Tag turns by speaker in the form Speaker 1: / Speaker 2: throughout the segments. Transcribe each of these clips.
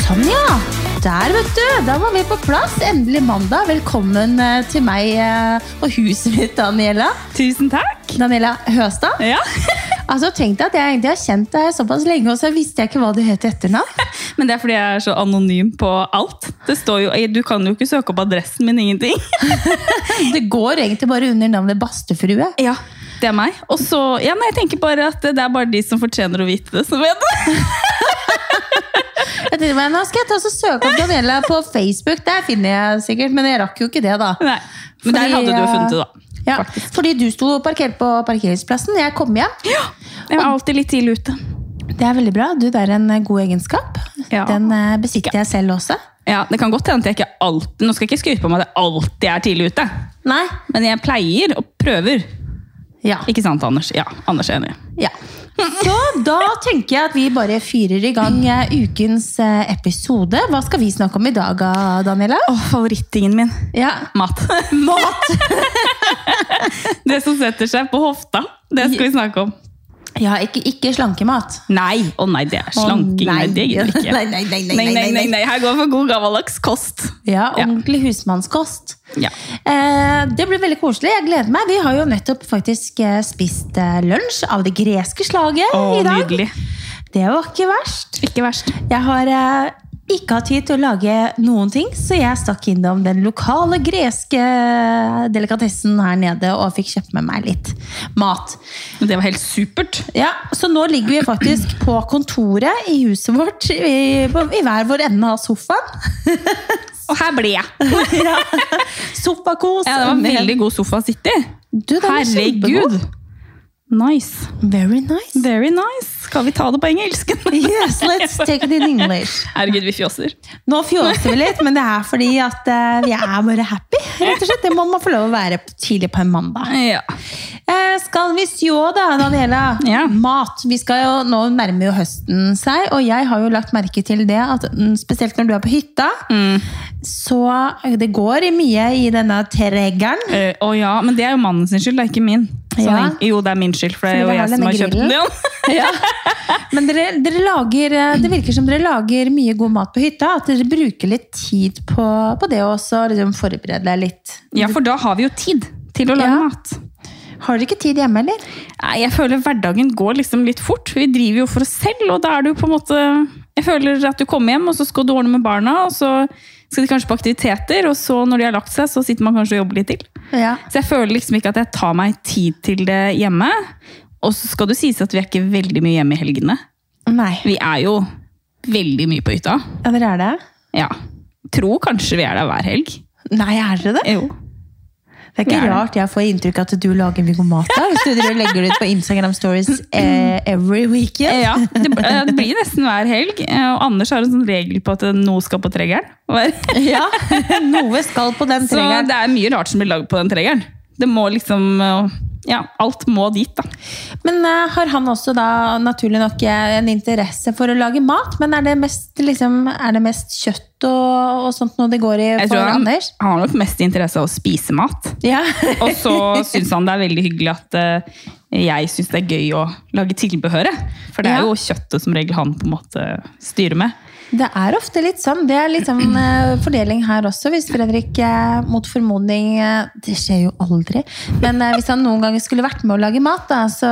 Speaker 1: Sånn, Der, vet du! Da var vi på plass. Endelig mandag. Velkommen eh, til meg eh, og huset mitt, Daniela.
Speaker 2: Tusen takk!
Speaker 1: Daniela Høstad.
Speaker 2: Ja.
Speaker 1: Altså, Tenk deg at jeg egentlig har kjent deg såpass lenge, og så visste jeg ikke hva du het i etternavn.
Speaker 2: Men det er fordi jeg er så anonym på alt. Det står jo, Du kan jo ikke søke opp adressen min, ingenting.
Speaker 1: Det går egentlig bare under navnet Bastefrue.
Speaker 2: Ja, Det er meg. Og så, ja, nei, jeg tenker bare at det er bare de som fortjener å vite det, som vet det.
Speaker 1: Jeg tenkte, meg, Nå skal jeg ta og søke opp Daniela på Facebook. Der finner jeg sikkert, men jeg rakk jo ikke det, da.
Speaker 2: Nei. Men der
Speaker 1: Fordi, eh,
Speaker 2: hadde du jo funnet det, da.
Speaker 1: Ja, fordi du sto parkert på parkeringsplassen. Jeg kom hjem.
Speaker 2: eh, Jeg er alltid litt tidlig ute.
Speaker 1: Det er veldig bra. Du, det er en eh, god egenskap.
Speaker 2: Ja.
Speaker 1: Den eh, besitter jeg selv også.
Speaker 2: Ja, Det kan godt hende at jeg ikke alltid Nå skal jeg ikke skryte på meg at jeg alltid er tidlig ute,
Speaker 1: Nei?
Speaker 2: men jeg pleier og prøver.
Speaker 1: Ja.
Speaker 2: Ikke sant, Anders? Ja, Anders er enig.
Speaker 1: ja. Så da tenker jeg at vi bare fyrer i gang eh, ukens eh, episode. Hva skal vi snakke om i dag, ah, Daniela?
Speaker 2: Åh, favorittingen min.
Speaker 1: Ja.
Speaker 2: Mat.
Speaker 1: Mat!
Speaker 2: Det som setter seg på hofta. Det skal vi snakke om.
Speaker 1: Ja, ikke, ikke slankemat.
Speaker 2: Nei! Å nei, det er
Speaker 1: Å,
Speaker 2: slanking. nei. det gidder jeg ikke.
Speaker 1: Nei, nei, nei, nei,
Speaker 2: Nei, nei, nei, nei. Her går for god gammeldags kost.
Speaker 1: Ja,
Speaker 2: Ja.
Speaker 1: ordentlig husmannskost.
Speaker 2: Ja.
Speaker 1: Eh, det blir veldig koselig. Jeg gleder meg. Vi har jo nettopp faktisk eh, spist eh, lunsj av det greske slaget
Speaker 2: Å,
Speaker 1: i dag.
Speaker 2: nydelig.
Speaker 1: Det var ikke verst.
Speaker 2: Ikke verst.
Speaker 1: Jeg har eh, ikke hatt tid til å lage noen ting, så jeg stakk innom den lokale greske delikatessen her nede og fikk kjøpt med meg litt mat.
Speaker 2: Men det var helt supert.
Speaker 1: Ja, Så nå ligger vi faktisk på kontoret i huset vårt i, på, i hver vår ende av sofaen.
Speaker 2: Og her ble jeg.
Speaker 1: ja. Sofakos.
Speaker 2: Ja, det var
Speaker 1: med-
Speaker 2: veldig god sofa å sitte i.
Speaker 1: Du, den var
Speaker 2: Herregud.
Speaker 1: kjempegod.
Speaker 2: Nice.
Speaker 1: Very nice.
Speaker 2: Very nice. Skal vi ta det på engelsk?
Speaker 1: Yes, let's take it in English.
Speaker 2: Herregud, vi fjåser.
Speaker 1: Nå fjåser vi litt, men det er fordi at eh, vi er bare happy. rett og slett. Det må man få lov å være tidlig på en mandag.
Speaker 2: Ja.
Speaker 1: Eh, skal vi sjå da, Daniela?
Speaker 2: Ja.
Speaker 1: Mat. Vi skal jo, nå nærmer jo høsten seg, og jeg har jo lagt merke til det at mm, spesielt når du er på hytta,
Speaker 2: Mm.
Speaker 1: så eh, det går mye i denne treggeren.
Speaker 2: Eh, Å ja, men det er jo mannen sin skyld, det er ikke min. Så
Speaker 1: Ja.
Speaker 2: han- Jo, det er min skyld, for det er
Speaker 1: Fordi
Speaker 2: jo
Speaker 1: det har
Speaker 2: jeg som
Speaker 1: denne
Speaker 2: har kjøpt den.
Speaker 1: grillen.
Speaker 2: Ja.
Speaker 1: Men dere, dere lager, eh, det virker som dere lager mye god mat på hytta, at dere bruker litt tid på, på det også, liksom forberede litt.
Speaker 2: ja, for da har vi jo tid til å lage
Speaker 1: Ja.
Speaker 2: mat.
Speaker 1: Har dere ikke tid hjemme, eller?
Speaker 2: Nei, jeg føler hverdagen går liksom litt fort. Vi driver jo for oss selv, og da er det jo på en måte Jeg føler at du kommer hjem, og så skal du ordne med barna, og så skal de kanskje på aktiviteter, og så når de har lagt seg, så sitter man kanskje og jobber litt til.
Speaker 1: Ja.
Speaker 2: Så jeg føler liksom ikke at jeg tar meg tid til det hjemme. Og så skal det sies at vi er ikke veldig mye hjemme i helgene.
Speaker 1: Nei.
Speaker 2: Vi er jo veldig mye på hytta.
Speaker 1: Ja, dere er det?
Speaker 2: Ja. Tror kanskje vi er der hver helg.
Speaker 1: Nei, er dere det?
Speaker 2: Jo.
Speaker 1: Det er ikke
Speaker 2: Vi er det.
Speaker 1: rart jeg får inntrykk av at du lager mye god mat. da, Hvis du driver og legger det ut på Instagram stories eh, every weekend.
Speaker 2: Ja, det, eh, det blir nesten hver helg. Og Anders har en sånn regel på at noe skal på treggeren. Hver-
Speaker 1: Ja, Noe skal på den
Speaker 2: Så
Speaker 1: treeren.
Speaker 2: det er mye rart som blir lagd på den tregeren. Det må liksom Ja, alt må dit, da.
Speaker 1: Men eh, har han også da naturlig nok eh, en interesse for å lage mat? Men er det mest, liksom, er det mest kjøtt og, og sånt noe det går i
Speaker 2: Jeg
Speaker 1: for
Speaker 2: tror han,
Speaker 1: Anders?
Speaker 2: han har nok mest interesse av å spise mat.
Speaker 1: Ja.
Speaker 2: Og så syns han det er veldig hyggelig at eh, jeg syns det er gøy å lage tilbehøret. For det
Speaker 1: Ja.
Speaker 2: er jo kjøttet som regel han på en måte styrer med.
Speaker 1: Det er ofte litt sånn. Det er litt sånn eh, fordeling her også. Hvis Fredrik eh, mot formodning eh, Det skjer jo aldri. Men eh, hvis han noen ganger skulle vært med å lage mat, da, så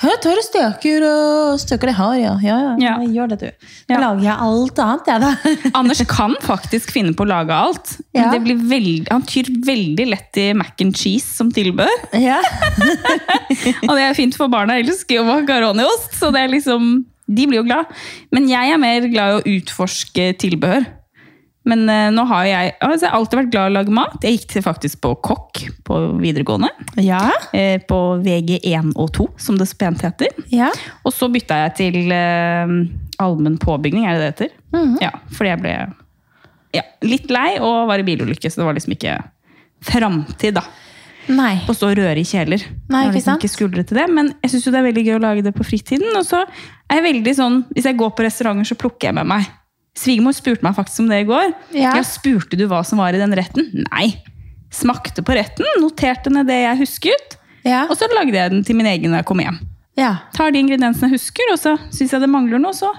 Speaker 1: «Hør, tar du støker og støker det har, ja. Ja, ja.
Speaker 2: Ja.
Speaker 1: ja, Gjør det, du. Da
Speaker 2: Ja.
Speaker 1: lager jeg alt annet, jeg, da.
Speaker 2: Anders kan faktisk finne på å lage alt. Men
Speaker 1: Ja.
Speaker 2: det blir veldig, han tyr veldig lett til mac and cheese som tilbehør.
Speaker 1: ja.
Speaker 2: Og det er fint for barna, elsker jo makaroniost, så det er liksom, de blir jo glad. Men jeg er mer glad i å utforske tilbehør. Men eh, nå har jeg, altså, jeg har alltid vært glad i å lage mat. Jeg gikk til faktisk på kokk på videregående.
Speaker 1: ja.
Speaker 2: eh, På VG1 og 2, som det så pent heter.
Speaker 1: ja.
Speaker 2: Og så bytta jeg til eh, allmenn påbygning, er det det heter?
Speaker 1: Mhm.
Speaker 2: Ja, fordi jeg ble ja, litt lei og var i bilulykke, så det var liksom ikke framtid, da
Speaker 1: Nei.
Speaker 2: på å stå og røre i kjeler.
Speaker 1: Nei,
Speaker 2: Jeg har
Speaker 1: ikke
Speaker 2: liksom
Speaker 1: sant?
Speaker 2: ikke skuldre til det, men jeg syns jo det er veldig gøy å lage det på fritiden. Og så er jeg veldig sånn, hvis jeg går på restauranter, så plukker jeg med meg. Svigermor spurte meg faktisk om det i går.
Speaker 1: Ja.
Speaker 2: spurte du hva som var i den retten? Nei. Smakte på retten, noterte ned det jeg husket,
Speaker 1: Ja.
Speaker 2: og så lagde jeg den til min egen når jeg kom hjem.
Speaker 1: ja.
Speaker 2: Tar de ingrediensene jeg husker, og så syns jeg det mangler noe, så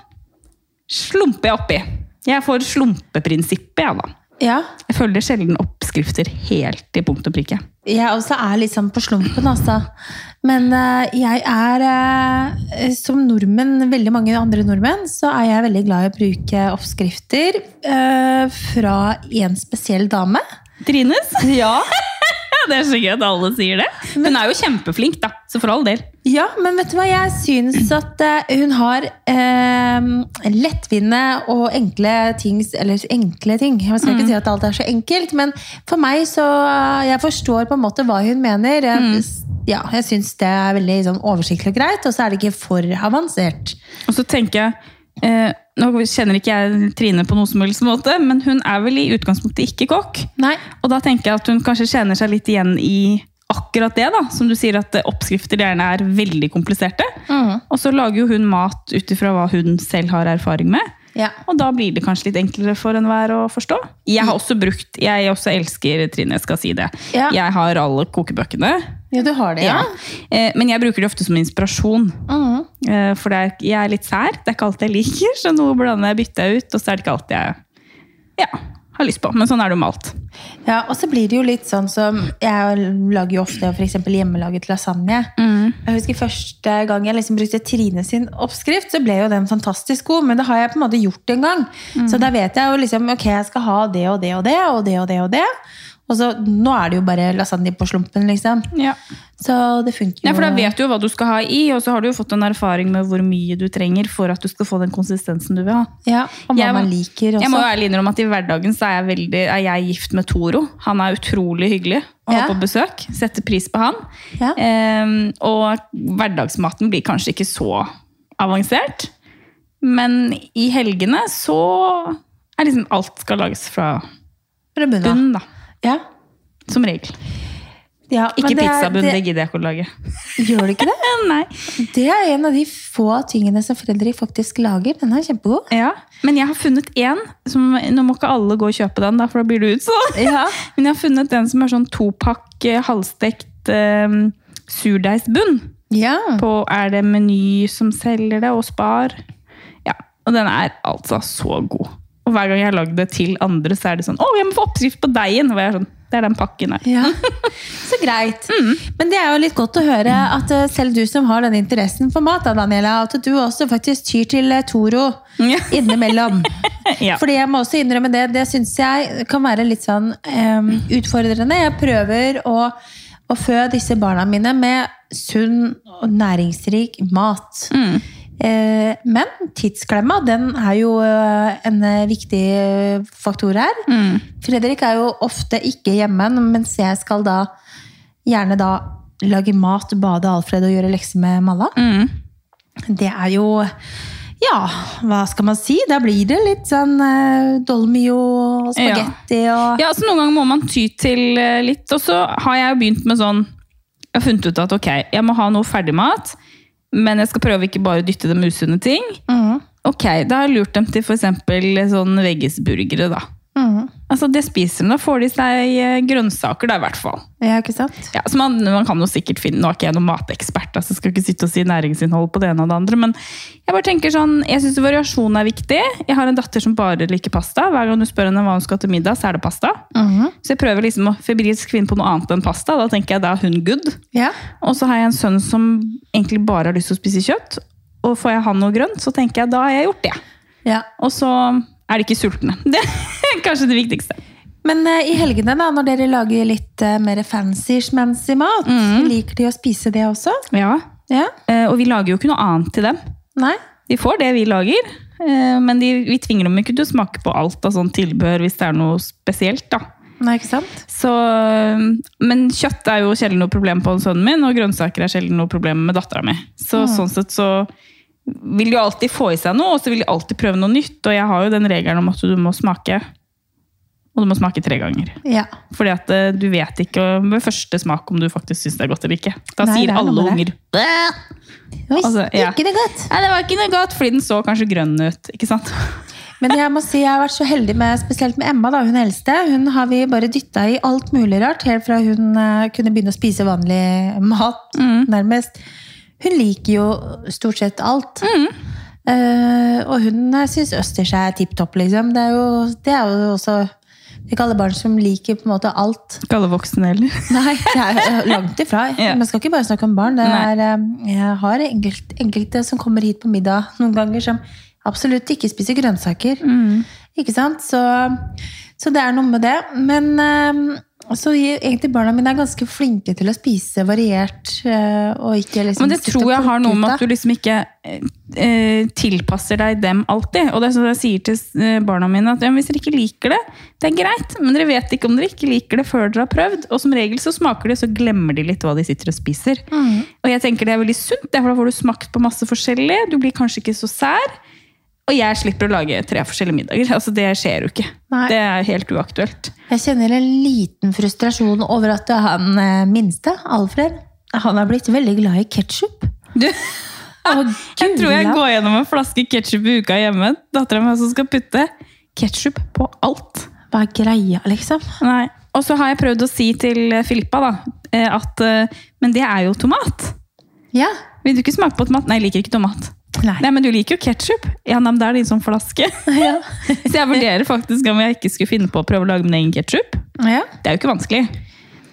Speaker 2: slumper jeg oppi. Jeg er for slumpeprinsippet, jeg, da.
Speaker 1: Ja.
Speaker 2: Jeg følger sjelden oppskrifter helt til punkt og prikke.
Speaker 1: Jeg også er litt sånn på slumpen, altså. Men eh, jeg er, eh, som nordmenn, veldig mange andre nordmenn, så er jeg veldig glad i å bruke oppskrifter eh, fra en spesiell dame.
Speaker 2: Trines?
Speaker 1: Ja.
Speaker 2: Ja, det er så gøy at alle sier det. Hun er jo kjempeflink, da. Så for all del.
Speaker 1: Ja, men vet du hva? Jeg syns at eh, hun har eh, lettvinte og enkle ting Eller enkle ting. Jeg skal ikke si at alt er så enkelt, men for meg så eh, Jeg forstår på en måte hva hun mener. Jeg, Ja, jeg syns det er veldig sånn, oversiktlig og greit, og så er det ikke for avansert.
Speaker 2: Og så tenker jeg eh, Nå kjenner ikke jeg Trine på noen som helst måte, men hun er vel i utgangspunktet ikke kokk.
Speaker 1: Nei.
Speaker 2: Og da tenker jeg at hun kanskje kjenner seg litt igjen i akkurat det, da. Som du sier, at eh, oppskrifter gjerne er veldig kompliserte. Og så lager jo hun mat ut ifra hva hun selv har erfaring med.
Speaker 1: Ja.
Speaker 2: Og da blir det kanskje litt enklere for enhver å forstå. Jeg har også brukt, jeg også elsker Trine, jeg skal si det.
Speaker 1: Ja.
Speaker 2: Jeg har alle kokebøkene.
Speaker 1: ja, du har det, ja?
Speaker 2: Eh, Men jeg bruker de ofte som inspirasjon.
Speaker 1: Mhm.
Speaker 2: Eh, For det er, jeg er litt sær. Det er ikke alt jeg liker, så noe blander jeg bytter jeg ut. Og så er det ikke alt jeg ja, har lyst på. Men sånn er det jo med alt.
Speaker 1: Ja, og så blir det jo litt sånn som Jeg lager jo ofte for eksempel hjemmelaget lasagne.
Speaker 2: Mm.
Speaker 1: Jeg husker Første gang jeg liksom brukte Trine sin oppskrift, så ble jo den fantastisk god. Men det har jeg på en måte gjort en gang. Så
Speaker 2: Mm.
Speaker 1: da vet jeg jo liksom ok, jeg skal ha det og det og det og det og det. Og det. Og så nå er det jo bare lasagne på slumpen, liksom.
Speaker 2: Ja.
Speaker 1: Så det funker
Speaker 2: for da
Speaker 1: jo.
Speaker 2: vet du jo hva du skal ha i, og så har du jo fått en erfaring med hvor mye du trenger for at du skal få den konsistensen du vil ha.
Speaker 1: Ja, og hva
Speaker 2: Jeg-
Speaker 1: man liker også.
Speaker 2: Jeg må jo ærlig innrømme at i hverdagen så er jeg, veldig, er jeg gift med Toro. Han er utrolig hyggelig å
Speaker 1: Ja.
Speaker 2: ha på besøk. Setter pris på han.
Speaker 1: Ja.
Speaker 2: Ehm, og hverdagsmaten blir kanskje ikke så avansert. Men i helgene så er liksom alt skal lages fra
Speaker 1: Fra bunnen av.
Speaker 2: bunn, da.
Speaker 1: Ja.
Speaker 2: Som regel.
Speaker 1: Ja, men
Speaker 2: Ikke
Speaker 1: det er-
Speaker 2: pizzabunn, det
Speaker 1: det-
Speaker 2: gidder jeg ikke å lage. Eh,
Speaker 1: Gjør det ikke det?
Speaker 2: Nei.
Speaker 1: Det er en av de få tingene som foreldre faktisk lager. Den er kjempegod.
Speaker 2: Ja. Men jeg har funnet én. som- Nå må ikke alle gå og kjøpe den, da, for da blir sånn. du utsolgt.
Speaker 1: Ja.
Speaker 2: Men jeg har funnet en som er sånn topakk eh, halvstekt eh, surdeigsbunn.
Speaker 1: Ja.
Speaker 2: På er det Meny som selger det, og Spar. Ja, Og den er altså så god. Og hver gang jeg har lagd det til andre, så er det sånn Å, jeg må få oppskrift på deigen! Og jeg er sånn, det er den pakken her.
Speaker 1: Ja, Mm. Så greit. Men det er jo litt godt å høre at eh, selv du som har denne interessen for mat, da, Daniela, at du også faktisk tyr til eh, Toro
Speaker 2: Ja.
Speaker 1: innimellom.
Speaker 2: Ja.
Speaker 1: Fordi jeg må også innrømme det, det syns jeg kan være litt sånn eh, utfordrende. Jeg prøver å, å fø disse barna mine med sunn og næringsrik mat.
Speaker 2: Mm.
Speaker 1: Eh, Men tidsklemma den er jo eh, en eh, viktig eh, faktor her.
Speaker 2: Mm.
Speaker 1: Fredrik er jo ofte ikke hjemme, mens jeg skal da gjerne da lage mat, bade Alfred og gjøre lekser med Malla.
Speaker 2: Mm.
Speaker 1: Det er jo Ja, hva skal man si? Da blir det litt sånn eh, dolmio og spagetti og
Speaker 2: Ja, altså Noen ganger må man ty til eh, litt. Og så har jeg jo begynt med sånn Jeg har funnet ut at ok, jeg må ha noe ferdigmat, men jeg skal prøve ikke bare å dytte dem usunne ting.
Speaker 1: Mhm,
Speaker 2: Ok, da har jeg lurt dem til for eksempel sånn veggisburgere da.
Speaker 1: mhm.
Speaker 2: Altså det spiser de, da får de seg eh, grønnsaker da i hvert fall.
Speaker 1: Ja, ikke sant?
Speaker 2: Ja, så man, man kan jo sikkert finne, nå er ikke jeg noen matekspert, altså jeg skal ikke sitte og si næringsinnhold på det ene og det andre, men jeg bare tenker sånn, jeg synes variasjon er viktig. Jeg har en datter som bare liker pasta. Hver gang du spør henne hva hun skal til middag, så er det pasta.
Speaker 1: Mhm.
Speaker 2: Så jeg prøver liksom å febrilsk kvinne på noe annet enn pasta, da tenker jeg da er hun good.
Speaker 1: Ja.
Speaker 2: Og så har jeg en sønn som egentlig bare har lyst til å spise kjøtt, og får jeg han noe grønt, så tenker jeg da har jeg gjort det.
Speaker 1: ja.
Speaker 2: Og så er de ikke sultne. Det er kanskje det viktigste.
Speaker 1: Men eh, i helgene, da, når dere lager litt eh, mer fancy-schmancy mat, liker de å spise det også?
Speaker 2: Ja. eh,
Speaker 1: Ja?
Speaker 2: Og vi lager jo ikke noe annet til dem.
Speaker 1: Nei?
Speaker 2: De får det vi lager, eh, men de, vi tvinger dem ikke til å smake på alt av sånn tilbehør hvis det er noe spesielt. da.
Speaker 1: Nei, ikke sant?
Speaker 2: Så, eh, men kjøtt er jo sjelden noe problem på sønnen min, og grønnsaker er sjelden noe problem med dattera mi. Så sånn sett så vil de jo alltid få i seg noe, og så vil de alltid prøve noe nytt. Og jeg har jo den regelen om at du må smake, og du må smake tre ganger.
Speaker 1: Ja.
Speaker 2: Fordi at eh, du vet ikke ved første smak om du faktisk syns det er godt eller ikke. Da
Speaker 1: Nei, det
Speaker 2: sier
Speaker 1: er
Speaker 2: alle
Speaker 1: noe med
Speaker 2: unger «Bæ!»
Speaker 1: Oi,
Speaker 2: Altså, ja.
Speaker 1: ikke det godt!
Speaker 2: Nei, det var ikke noe godt, fordi den så kanskje grønn ut. ikke sant?
Speaker 1: Men jeg må si jeg har vært så heldig med spesielt med Emma, da, hun eldste. Hun har vi bare dytta i alt mulig rart, helt fra hun eh, kunne begynne å spise Mm. Mm. vanlig mat, nærmest. Hun liker jo stort sett alt. Eh, og hun syns østers er tipp topp, liksom. Det er, jo, det er jo også det er ikke alle barn som liker på en måte alt.
Speaker 2: Ikke alle voksne heller.
Speaker 1: Nei, det er eh, langt ifra.
Speaker 2: Ja.
Speaker 1: Man skal ikke bare snakke om barn. Det er, eh, jeg har enkelt, enkelte som kommer hit på middag noen ganger, som absolutt ikke spiser grønnsaker.
Speaker 2: Mm.
Speaker 1: Ikke sant? Så, så det er noe med det. Men eh, så gir- egentlig barna mine er ganske flinke til å spise variert. eh, Og ikke liksom
Speaker 2: Men det
Speaker 1: sitte
Speaker 2: tror
Speaker 1: og
Speaker 2: jeg har
Speaker 1: plukke
Speaker 2: noe
Speaker 1: ut
Speaker 2: med
Speaker 1: av.
Speaker 2: at du liksom ikke eh, eh, tilpasser deg dem alltid. Og det er sånn jeg sier til eh, barna mine at ja, men hvis dere ikke liker det, det er greit, men dere vet ikke om dere ikke liker det før dere har prøvd. Og som regel så smaker de, så glemmer de litt hva de sitter og spiser. Og jeg tenker det er veldig sunt, det er for da får du smakt på masse forskjellig, du blir kanskje ikke så sær. Og jeg slipper å lage tre forskjellige middager. Altså, det skjer jo ikke.
Speaker 1: Nei.
Speaker 2: Det er helt uaktuelt.
Speaker 1: Jeg kjenner en liten frustrasjon over at han eh, minste, Alfred, han har blitt veldig glad i ketsjup.
Speaker 2: Du,
Speaker 1: Og
Speaker 2: Jeg tror jeg
Speaker 1: gula.
Speaker 2: går gjennom en flaske ketsjup i uka hjemme. Dattera mi som skal putte ketsjup på alt.
Speaker 1: Hva er greia, liksom?
Speaker 2: Nei. Og så har jeg prøvd å si til eh, Filippa da, eh, at eh, Men det er jo tomat.
Speaker 1: Ja.
Speaker 2: Vil du ikke smake på tomat? Nei, jeg liker ikke tomat.
Speaker 1: Nei.
Speaker 2: Nei, men du liker jo ketsjup. Ja, nei, men det er din sånn flaske.
Speaker 1: Ja.
Speaker 2: Så jeg vurderer faktisk om jeg ikke skulle finne på å prøve å lage min egen ketsjup.
Speaker 1: ja.
Speaker 2: Det er jo ikke vanskelig,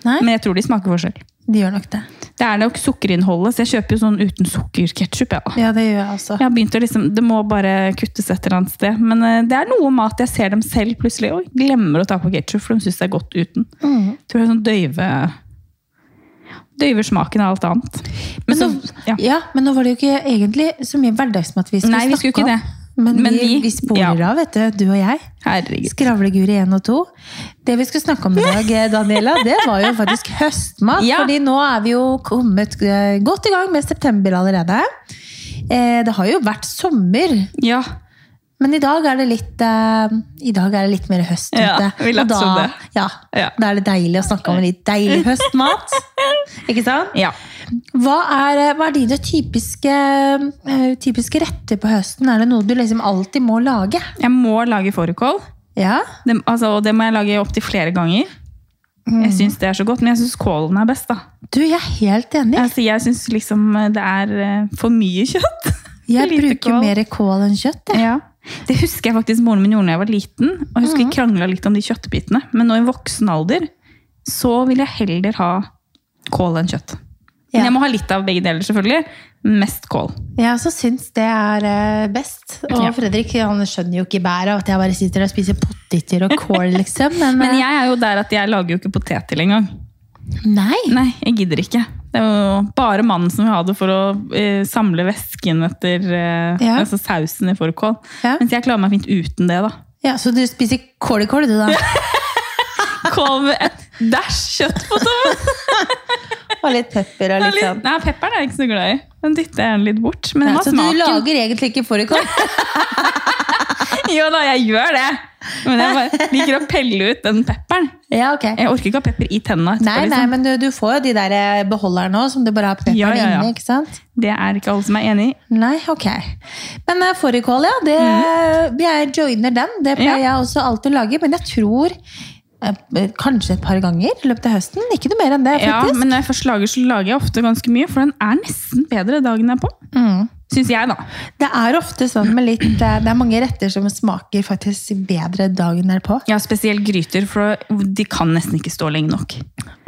Speaker 1: Nei,
Speaker 2: men jeg tror de smaker forskjell.
Speaker 1: de gjør nok det.
Speaker 2: Det er nok sukkerinnholdet, så jeg kjøper jo sånn uten sukkerketsjup. Ja.
Speaker 1: Ja, det gjør jeg også.
Speaker 2: Jeg har begynt å liksom, Det må bare kuttes et eller annet sted. Men eh, det er noe med at jeg ser dem selv plutselig og glemmer å ta på ketsjup, for de syns det er godt uten.
Speaker 1: Mhm.
Speaker 2: Tror jeg sånn døyve Døyver smaken av alt annet. Men så,
Speaker 1: Så-
Speaker 2: ja.
Speaker 1: Ja, men nå var det jo ikke egentlig så mye hverdagsmat vi skulle
Speaker 2: Nei, vi skulle
Speaker 1: snakke
Speaker 2: ikke
Speaker 1: om.
Speaker 2: det.
Speaker 1: Men,
Speaker 2: Men
Speaker 1: vi,
Speaker 2: vi-
Speaker 1: vi sporer
Speaker 2: ja.
Speaker 1: av, vet du, du og jeg.
Speaker 2: Herregud.
Speaker 1: Skravleguri 1 og 2. Det vi skulle snakke om i dag, eh, Daniela, det var jo faktisk høstmat.
Speaker 2: Ja.
Speaker 1: fordi nå er vi jo kommet eh, godt i gang med september allerede. Eh, Det har jo vært sommer,
Speaker 2: Ja.
Speaker 1: men i dag er det litt, eh, i dag er det litt mer høst ute.
Speaker 2: Ja, vi
Speaker 1: Og
Speaker 2: later
Speaker 1: da,
Speaker 2: som det.
Speaker 1: Ja,
Speaker 2: Ja.
Speaker 1: da er det deilig å snakke om litt deilig høstmat. Ikke sant?
Speaker 2: ja.
Speaker 1: Hva er, eh, hva er dine typiske, eh, typiske retter på høsten? Er det noe du liksom alltid må lage?
Speaker 2: Jeg må lage fårikål.
Speaker 1: Ja,
Speaker 2: Det- Altså, og det må jeg lage opptil flere ganger. Jeg syns det er så godt, men jeg syns kålen er best. da.
Speaker 1: du, jeg er helt enig.
Speaker 2: Altså, jeg syns liksom eh, det er eh, for mye kjøtt.
Speaker 1: Jeg
Speaker 2: Lite
Speaker 1: bruker
Speaker 2: kål.
Speaker 1: mer kål enn kjøtt. Jeg.
Speaker 2: Ja. Det husker jeg faktisk moren min gjorde da jeg var liten. Og jeg husker
Speaker 1: Mhm.
Speaker 2: jeg krangla litt om de kjøttbitene. Men nå i voksen alder så vil jeg heller ha kål enn kjøtt.
Speaker 1: Ja.
Speaker 2: Men jeg må ha litt av begge deler, selvfølgelig. Mest kål.
Speaker 1: Jeg også syns det er eh, best. Og
Speaker 2: Ja.
Speaker 1: Fredrik han skjønner jo ikke bæret av at jeg bare sitter og spiser poteter og kål, liksom. Men,
Speaker 2: Men jeg er jo der at jeg lager jo ikke potet til engang.
Speaker 1: eh, nei.
Speaker 2: Nei, jeg gidder ikke. Det er jo bare mannen som vil ha det for å eh, samle væsken etter eh,
Speaker 1: Ja.
Speaker 2: altså sausen i fårikål.
Speaker 1: Ja.
Speaker 2: Mens jeg klarer meg fint uten det, da.
Speaker 1: Ja, så du spiser kål i kål, du, da?
Speaker 2: Kål med et dæsj kjøtt på toppen!
Speaker 1: Og litt pepper og
Speaker 2: Det er
Speaker 1: litt
Speaker 2: litt-
Speaker 1: sånn.
Speaker 2: Nei, pepperen er jeg ikke så glad i. Den dytter jeg gjerne litt bort. Men
Speaker 1: Nei,
Speaker 2: jeg må
Speaker 1: så du
Speaker 2: smake den.
Speaker 1: lager egentlig ikke fårikål?
Speaker 2: Jo da, jeg gjør det. Men jeg bare liker å pelle ut den pepperen.
Speaker 1: Ja, ok.
Speaker 2: Jeg orker ikke ha pepper i tennene. etterpå,
Speaker 1: Nei, nei,
Speaker 2: liksom.
Speaker 1: men du, du får jo de der eh, beholderne òg, som du bare har pepperen
Speaker 2: Ja, ja, ja.
Speaker 1: inni. ikke sant?
Speaker 2: Det er ikke alle som er enig i.
Speaker 1: Nei, ok. Men eh, fårikål, ja. Det,
Speaker 2: Mhm.
Speaker 1: Jeg joiner den. Det pleier jeg også alltid å lage. Men jeg tror eh, kanskje et par ganger i løpet av høsten. Ikke noe mer enn det,
Speaker 2: Ja,
Speaker 1: faktisk.
Speaker 2: men når jeg først lager, så lager jeg ofte ganske mye, for den er nesten bedre dagen jeg er på.
Speaker 1: Mm.
Speaker 2: Syns jeg, da.
Speaker 1: Det er ofte sånn med litt eh, Det er mange retter som smaker faktisk bedre dagen derpå.
Speaker 2: Ja, Spesielt gryter, for de kan nesten ikke stå lenge nok.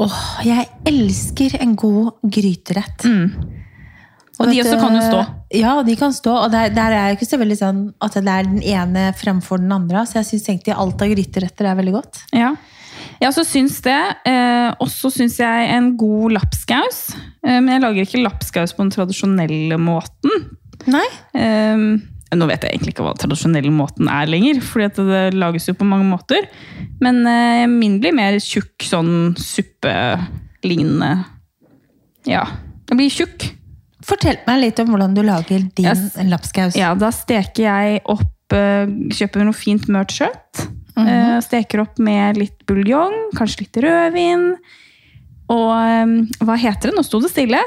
Speaker 1: Åh, jeg elsker en god gryterett.
Speaker 2: Og de
Speaker 1: Vet
Speaker 2: også
Speaker 1: du-
Speaker 2: kan jo stå.
Speaker 1: eh, Ja, de kan stå. Og der, der er jeg ikke så veldig sånn at det er den ene fremfor den andre. Så jeg syns egentlig alt av gryteretter er veldig godt.
Speaker 2: Ja. Jeg også syns det. Eh, og så syns jeg en god lapskaus. Eh, men jeg lager ikke lapskaus på den tradisjonelle måten.
Speaker 1: Nei?
Speaker 2: Ehm, nå vet jeg egentlig ikke hva den tradisjonelle måten er lenger, fordi at det lages jo på mange måter. Men eh, min blir mer tjukk, sånn suppelignende Ja. Den blir tjukk.
Speaker 1: Fortell meg litt om hvordan du lager din
Speaker 2: Yes.
Speaker 1: lapskaus.
Speaker 2: Ja, da steker jeg opp eh, Kjøper noe fint mørt kjøtt. eh,
Speaker 1: Mhm.
Speaker 2: steker opp med litt buljong, kanskje litt rødvin. Og eh, hva heter det? Nå sto det stille.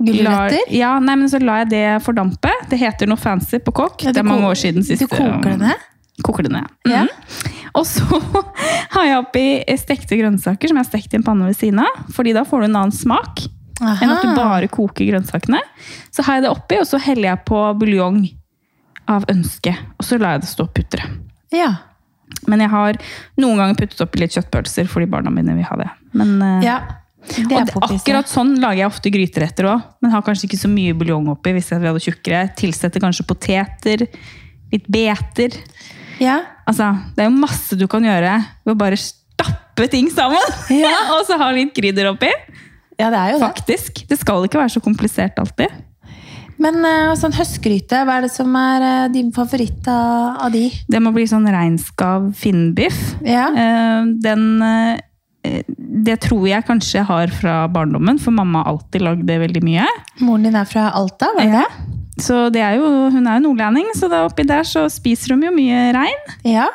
Speaker 1: Gulrøtter?
Speaker 2: Lar- Ja, nei, men så lar jeg det fordampe. Det heter noe fancy på kokk.
Speaker 1: Ja, du
Speaker 2: det er mange
Speaker 1: ko-
Speaker 2: år siden sist. um,
Speaker 1: Du koker det ned?
Speaker 2: Koker det ned.
Speaker 1: Ja.
Speaker 2: Mhm. Og så har jeg oppi stekte grønnsaker som jeg har stekt i en panne ved siden av. fordi da får du en annen smak enn at du
Speaker 1: Aha.
Speaker 2: bare koker grønnsakene. Så har jeg det oppi, og så heller jeg på buljong. av ønske. Og så lar jeg det stå og putre.
Speaker 1: Ja.
Speaker 2: Men jeg har noen ganger puttet oppi litt kjøttpølser fordi barna mine vil ha det. Men, eh,
Speaker 1: ja. Det
Speaker 2: og
Speaker 1: er
Speaker 2: det,
Speaker 1: poppis, ja.
Speaker 2: akkurat sånn lager jeg ofte gryteretter òg. Men har kanskje ikke så mye buljong oppi hvis jeg vil ha det tjukkere. Tilsetter kanskje poteter. Litt beter.
Speaker 1: Ja.
Speaker 2: Altså, det er jo masse du kan gjøre ved å bare stappe ting sammen.
Speaker 1: Ja.
Speaker 2: og så ha litt krydder oppi.
Speaker 1: ja, det er jo det.
Speaker 2: Faktisk. Det skal ikke være så komplisert alltid.
Speaker 1: Men eh, sånn høstgryte, hva er det som er eh, din favoritt av, av de?
Speaker 2: Det må bli sånn reinskav finnbiff.
Speaker 1: Ja.
Speaker 2: Eh, Den eh, Det tror jeg kanskje jeg har fra barndommen, for mamma har alltid lagd det veldig mye.
Speaker 1: Moren din er fra Alta, var det
Speaker 2: Ja. Så det er jo, Hun er jo nordlending, så da oppi der så spiser de jo mye rein.
Speaker 1: det? Ja.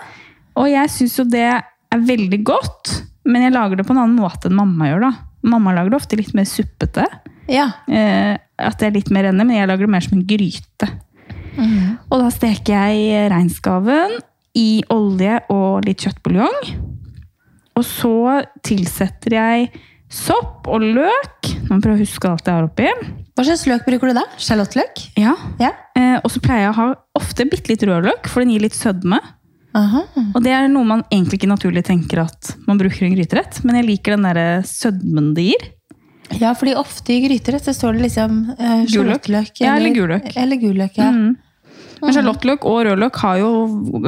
Speaker 2: Og jeg syns jo det er veldig godt, men jeg lager det på en annen måte enn mamma gjør. da. Mamma lager det ofte litt mer suppete.
Speaker 1: Ja.
Speaker 2: Eh, at det er litt mer renne, men jeg lager det mer som en gryte.
Speaker 1: Mhm.
Speaker 2: Og da steker jeg reinskaven i olje og litt kjøttbuljong. Og så tilsetter jeg sopp og løk. Nå må jeg prøve å huske alt jeg har oppi.
Speaker 1: Hva slags løk bruker du da? Sjalottløk?
Speaker 2: Ja.
Speaker 1: Ja.
Speaker 2: Eh, og så pleier jeg å ha ofte bitte litt rødløk, for den gir litt sødme.
Speaker 1: Aha.
Speaker 2: Og det er noe man egentlig ikke naturlig tenker at man bruker i en gryterett, men jeg liker den der sødmen det gir.
Speaker 1: Ja, fordi ofte i gryterett så står det liksom eh,
Speaker 2: Gul løk.
Speaker 1: sjalottløk.
Speaker 2: Ja, eller gul løk.
Speaker 1: Eller gul løk, ja.
Speaker 2: Mm. Men
Speaker 1: Mhm.
Speaker 2: sjalottløk og rødløk har jo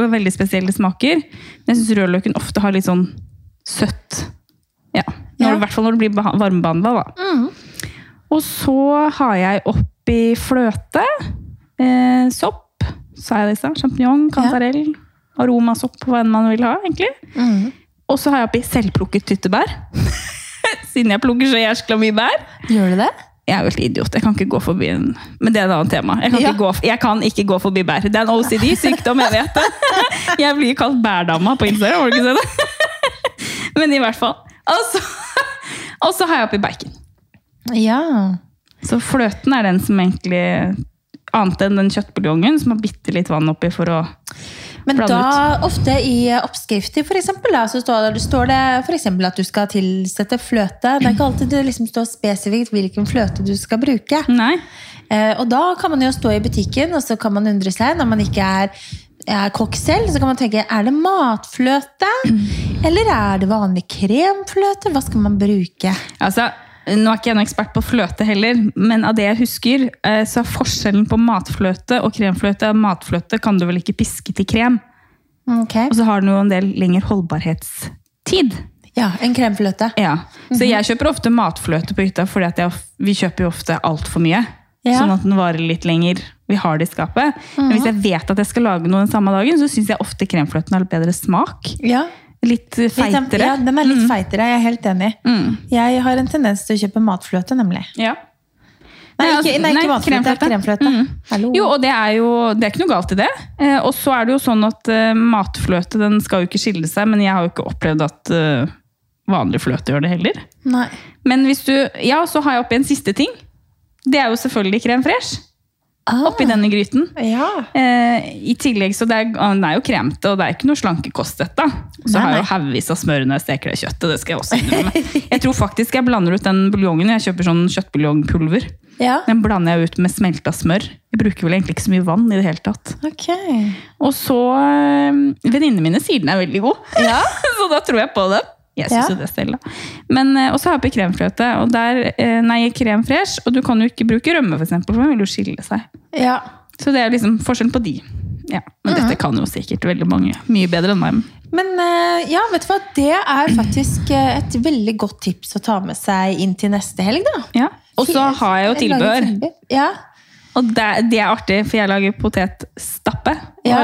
Speaker 2: veldig spesielle smaker. Men jeg syns rødløken ofte har litt sånn søtt. Ja. Når,
Speaker 1: Ja.
Speaker 2: I hvert fall når det blir beha- varmebehandla, da.
Speaker 1: Mm.
Speaker 2: Og så har jeg oppi fløte, eh, sopp, sa jeg det i stad, sjampinjong, kantarell, aromasopp, hva enn man vil ha, egentlig.
Speaker 1: Mm.
Speaker 2: Og så har jeg oppi selvplukket tyttebær. Siden jeg plukker så jæskla mye bær.
Speaker 1: Gjør du det?
Speaker 2: Jeg er jo helt idiot. Jeg kan ikke gå forbi en Men det er et annet tema. Jeg kan,
Speaker 1: Ja.
Speaker 2: ikke, gå, jeg kan ikke gå forbi bær. Det er en OCD-sykdom, jeg vet det. Jeg blir kalt bærdama på Instagram, har du ikke sett det? Men i hvert fall. Og så, og så har jeg oppi bacon.
Speaker 1: Ja.
Speaker 2: Så fløten er den som egentlig Annet enn den kjøttbuljongen som har bitte litt vann oppi for å
Speaker 1: Men
Speaker 2: Blandet.
Speaker 1: da ofte i eh, oppskrifter for eksempel, da, så står det, står det for eksempel at du skal tilsette fløte. Det er ikke alltid det liksom står spesifikt hvilken fløte du skal bruke.
Speaker 2: Nei.
Speaker 1: Eh, og da kan man jo stå i butikken, og så kan man undre seg når man ikke er, er kokk selv, så kan man tenke, er det matfløte? Eller er det vanlig kremfløte? Hva skal man bruke?
Speaker 2: Altså, nå er ikke jeg noen ekspert på fløte heller, men av det jeg husker, eh, så er forskjellen på matfløte og kremfløte Matfløte kan du vel ikke piske til krem?
Speaker 1: Ok.
Speaker 2: Og så har den jo en del lengre holdbarhetstid.
Speaker 1: Ja, en kremfløte.
Speaker 2: Ja. Så jeg kjøper ofte matfløte på hytta, fordi at jeg, vi kjøper jo ofte altfor mye.
Speaker 1: Ja.
Speaker 2: Sånn at den varer litt lenger. Vi har det i skapet. Men hvis jeg vet at jeg skal lage noe den samme dagen, så syns jeg ofte kremfløten har litt bedre smak.
Speaker 1: Ja,
Speaker 2: Litt eh,
Speaker 1: litt sånn-
Speaker 2: feitere.
Speaker 1: Ja, den er litt feitere, jeg er helt enig.
Speaker 2: Mm.
Speaker 1: Jeg har en tendens til å kjøpe matfløte, nemlig.
Speaker 2: Ja.
Speaker 1: Nei, ikke,
Speaker 2: altså-
Speaker 1: nei, ikke
Speaker 2: nei, Mm.
Speaker 1: matfløte, det er kremfløte. Hallo.
Speaker 2: Jo, og det er jo det er ikke noe galt i det. Eh, og så er det jo sånn at eh, matfløte den skal jo ikke skille seg, men jeg har jo ikke opplevd at eh, vanlig fløte gjør det heller.
Speaker 1: Nei.
Speaker 2: Men hvis du, ja, så har jeg oppi en siste ting. Det er jo selvfølgelig krem fresh
Speaker 1: Ah,
Speaker 2: oppi denne gryten.
Speaker 1: Ja.
Speaker 2: Eh, I tillegg, så det er, ah, den er jo kremte, og det er ikke noe slankekost dette. Så
Speaker 1: Nei,
Speaker 2: har jeg
Speaker 1: nei.
Speaker 2: jo haugvis av smør når jeg steker det kjøttet. det skal Jeg også innrømme. Jeg tror faktisk jeg blander ut den buljongen. Jeg kjøper sånn kjøttbuljongpulver.
Speaker 1: Ja,
Speaker 2: Den blander jeg ut med smelta smør. Jeg bruker vel egentlig ikke så mye vann i det hele tatt.
Speaker 1: ok.
Speaker 2: Og så eh, Venninnene mine sier den er veldig god.
Speaker 1: Ja.
Speaker 2: Så da tror jeg på det. Jeg synes
Speaker 1: Ja.
Speaker 2: jo det steller. Men, eh, og så har jeg oppi kremfløte. Og der, eh, nei, krem fresh, og du kan jo ikke bruke rømme, for, eksempel, for den vil jo skille seg.
Speaker 1: Ja.
Speaker 2: Så det er liksom forskjellen på de. Ja, men dette kan jo sikkert veldig mange. Mye bedre enn meg.
Speaker 1: Men eh, ja, vet du hva? det er faktisk eh, et veldig godt tips å ta med seg inn til neste helg, da.
Speaker 2: Ja. Og så har jeg jo tilbehør.
Speaker 1: Ja,
Speaker 2: Og det, det er artig, for jeg lager potetstappe. Hva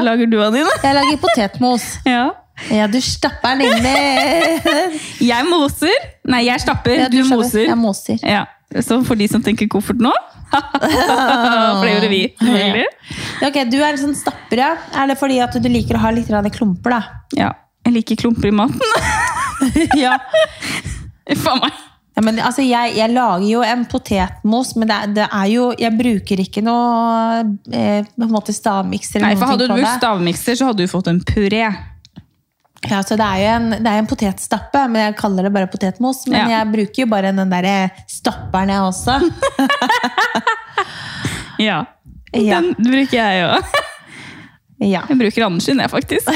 Speaker 1: Ja.
Speaker 2: lager du av dine?
Speaker 1: jeg lager potetmos.
Speaker 2: Ja.
Speaker 1: Ja, du stapper den inn i
Speaker 2: Jeg moser. Nei, jeg stapper,
Speaker 1: Ja,
Speaker 2: du,
Speaker 1: skjønner.
Speaker 2: moser.
Speaker 1: Jeg moser.
Speaker 2: Ja. Så for de som tenker koffert nå For det gjorde vi. selvfølgelig.
Speaker 1: Ja, ok, du er en sånn stapper, ja. Er det fordi at du liker å ha litt grann i klumper, da?
Speaker 2: Ja. Jeg liker klumper i maten.
Speaker 1: ja.
Speaker 2: Faen meg.
Speaker 1: Ja, men altså, jeg, jeg lager jo en potetmos, men det, er- det er jo, jeg bruker ikke noe eh, på en måte stavmikser. eller
Speaker 2: Nei,
Speaker 1: noen
Speaker 2: for Hadde
Speaker 1: ting
Speaker 2: du
Speaker 1: på
Speaker 2: brukt
Speaker 1: det.
Speaker 2: stavmikser, så hadde du fått en puré.
Speaker 1: Ja, så det er jo en, det er en potetstappe, men jeg kaller det bare potetmos. Men
Speaker 2: Ja.
Speaker 1: jeg bruker jo bare den derre stapperen, jeg også.
Speaker 2: Ja.
Speaker 1: Ja.
Speaker 2: Den bruker jeg òg.
Speaker 3: Ja.
Speaker 2: Jeg bruker Andersen, jeg, faktisk.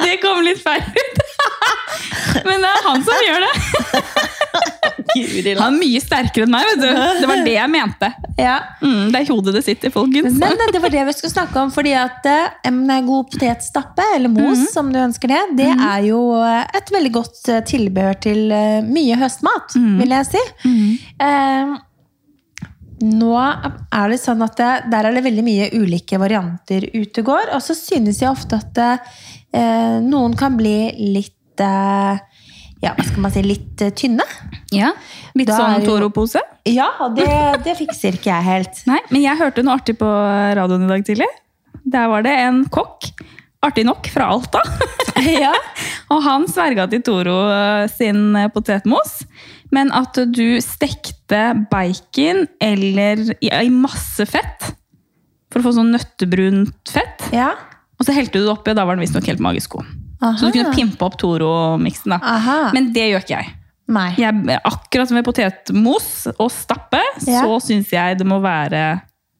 Speaker 2: det kom litt feil ut. Men det er han som gjør det.
Speaker 3: Guri land.
Speaker 2: Han er mye sterkere enn meg, vet du. Det var det jeg mente.
Speaker 1: Ja.
Speaker 2: Mm, det er i hodet det sitter, folkens.
Speaker 1: Men eh, det var det vi skulle snakke om, fordi at eh, en god potetstappe, eller mos, som du ønsker det, det er jo eh, et veldig godt eh, tilbehør til eh, mye høstmat, vil jeg si. Eh, nå er det sånn at det, der er det veldig mye ulike varianter ute går, og så synes jeg ofte at eh, noen kan bli litt eh, ja, hva skal man si, litt eh, tynne.
Speaker 2: Ja. Litt
Speaker 1: Da er
Speaker 2: sånn
Speaker 1: jo-
Speaker 2: Toro-pose.
Speaker 1: Ja, det, det fikser ikke jeg helt.
Speaker 2: Nei, men jeg hørte noe artig på radioen i dag tidlig. Der var det en kokk, artig nok, fra Alta.
Speaker 1: Ja.
Speaker 2: Og han sverga til Toro eh, sin eh, potetmos. Men at du stekte bacon eller i, i masse fett. For å få sånn nøttebrunt fett.
Speaker 1: Ja.
Speaker 2: Og så helte du det oppi, og da var den visstnok helt magisk god. Så du kunne pimpe opp Toro-miksen. da.
Speaker 1: Aha.
Speaker 2: Men det gjør ikke jeg.
Speaker 1: Nei.
Speaker 2: jeg. Akkurat som med potetmos og stappe,
Speaker 1: Ja.
Speaker 2: så syns jeg det må være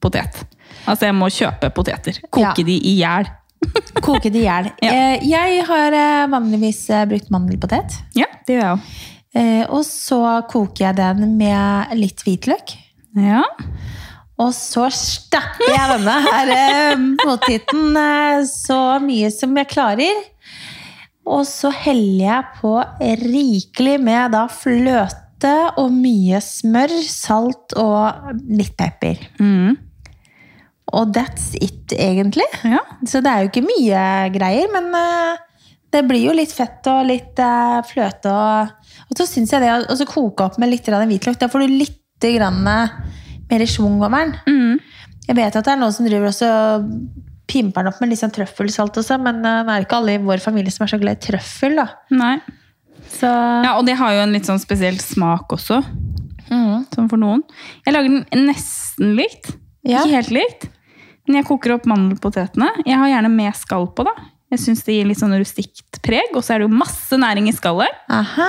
Speaker 2: potet. Altså, jeg må kjøpe poteter. Koke
Speaker 1: Ja.
Speaker 2: de i hjel.
Speaker 1: Koke det i hjel.
Speaker 2: Ja.
Speaker 1: Eh, Jeg har eh, vanligvis eh, brukt mandelpotet.
Speaker 2: Ja, det gjør jeg òg.
Speaker 1: Eh, Og så koker jeg den med litt hvitløk.
Speaker 2: Ja.
Speaker 1: Og så stapper jeg denne her eh, poteten eh, så mye som jeg klarer. Og så heller jeg på rikelig med da fløte og mye smør, salt og litt pepper.
Speaker 2: Mm.
Speaker 1: Og that's it, egentlig.
Speaker 2: ja.
Speaker 1: Så det er jo ikke mye greier, men eh, det blir jo litt fett og litt eh, fløte. Og, og så syns jeg det å- å så koke opp med litt grann hvitløk, da får du litt grann eh, mer schwung over den.
Speaker 2: Mm.
Speaker 1: Jeg vet at det er noen som driver også pimper den opp med litt sånn trøffelsalt også, men eh, det er ikke alle i vår familie som er så glad i trøffel, da.
Speaker 2: Nei.
Speaker 1: Så
Speaker 2: Ja, og det har jo en litt sånn spesiell smak også,
Speaker 1: mm,
Speaker 2: sånn for noen. Jeg lager den nesten likt.
Speaker 1: ja.
Speaker 2: Ikke helt likt. Men jeg koker opp mandelpotetene. Jeg har gjerne med skall på, da. Jeg syns det gir litt sånn rustikt preg, og så er det jo masse næring i skallet.
Speaker 1: Aha.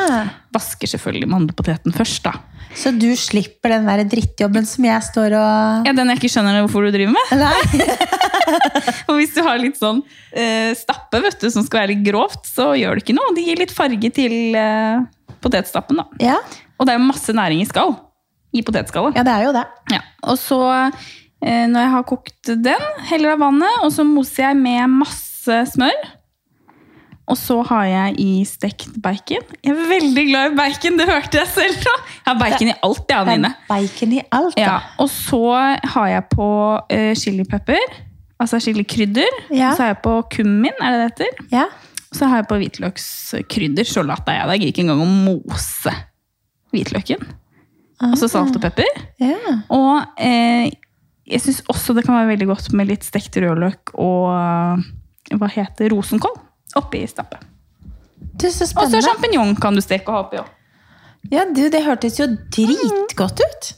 Speaker 2: Vasker selvfølgelig mandelpoteten først, da.
Speaker 1: Så du slipper den der drittjobben som jeg står og
Speaker 2: Ja, Den jeg ikke skjønner hvorfor du driver med.
Speaker 1: Nei.
Speaker 2: Og hvis du har litt sånn eh, stappe vet du, som skal være litt grovt, så gjør det ikke noe. Det gir litt farge til eh, potetstappen. da.
Speaker 1: Ja.
Speaker 2: Og det er jo masse næring i skall. I potetskallet.
Speaker 1: ja, det er jo det.
Speaker 2: Ja. Og så, eh, når jeg har kokt den, heller av vannet, og så moser jeg med masse smør. Og så har jeg i stekt bacon. Jeg er veldig glad i bacon, det hørte jeg selv. da. Jeg har bacon i alt, jeg,
Speaker 1: Det er
Speaker 2: Anine.
Speaker 1: bacon i alt, da.
Speaker 2: Ja, og så har jeg på eh, chilipepper, altså chilikrydder.
Speaker 1: Ja.
Speaker 2: Så har jeg på kummin, er det det heter?
Speaker 1: Ja.
Speaker 2: Og så har jeg på hvitløkskrydder. Så latt er jeg det. Jeg gidder ikke engang å mose hvitløken.
Speaker 1: Ah.
Speaker 2: Og så salt og pepper.
Speaker 1: Ja.
Speaker 2: Og eh, jeg syns også det kan være veldig godt med litt stekt rødløk og eh, hva heter rosenkål oppi stappet.
Speaker 1: Du, så
Speaker 2: Og så sånn
Speaker 1: spennende.
Speaker 2: sjampinjong kan du steke og ha oppi òg.
Speaker 1: Ja, du, det hørtes jo dritgodt ut.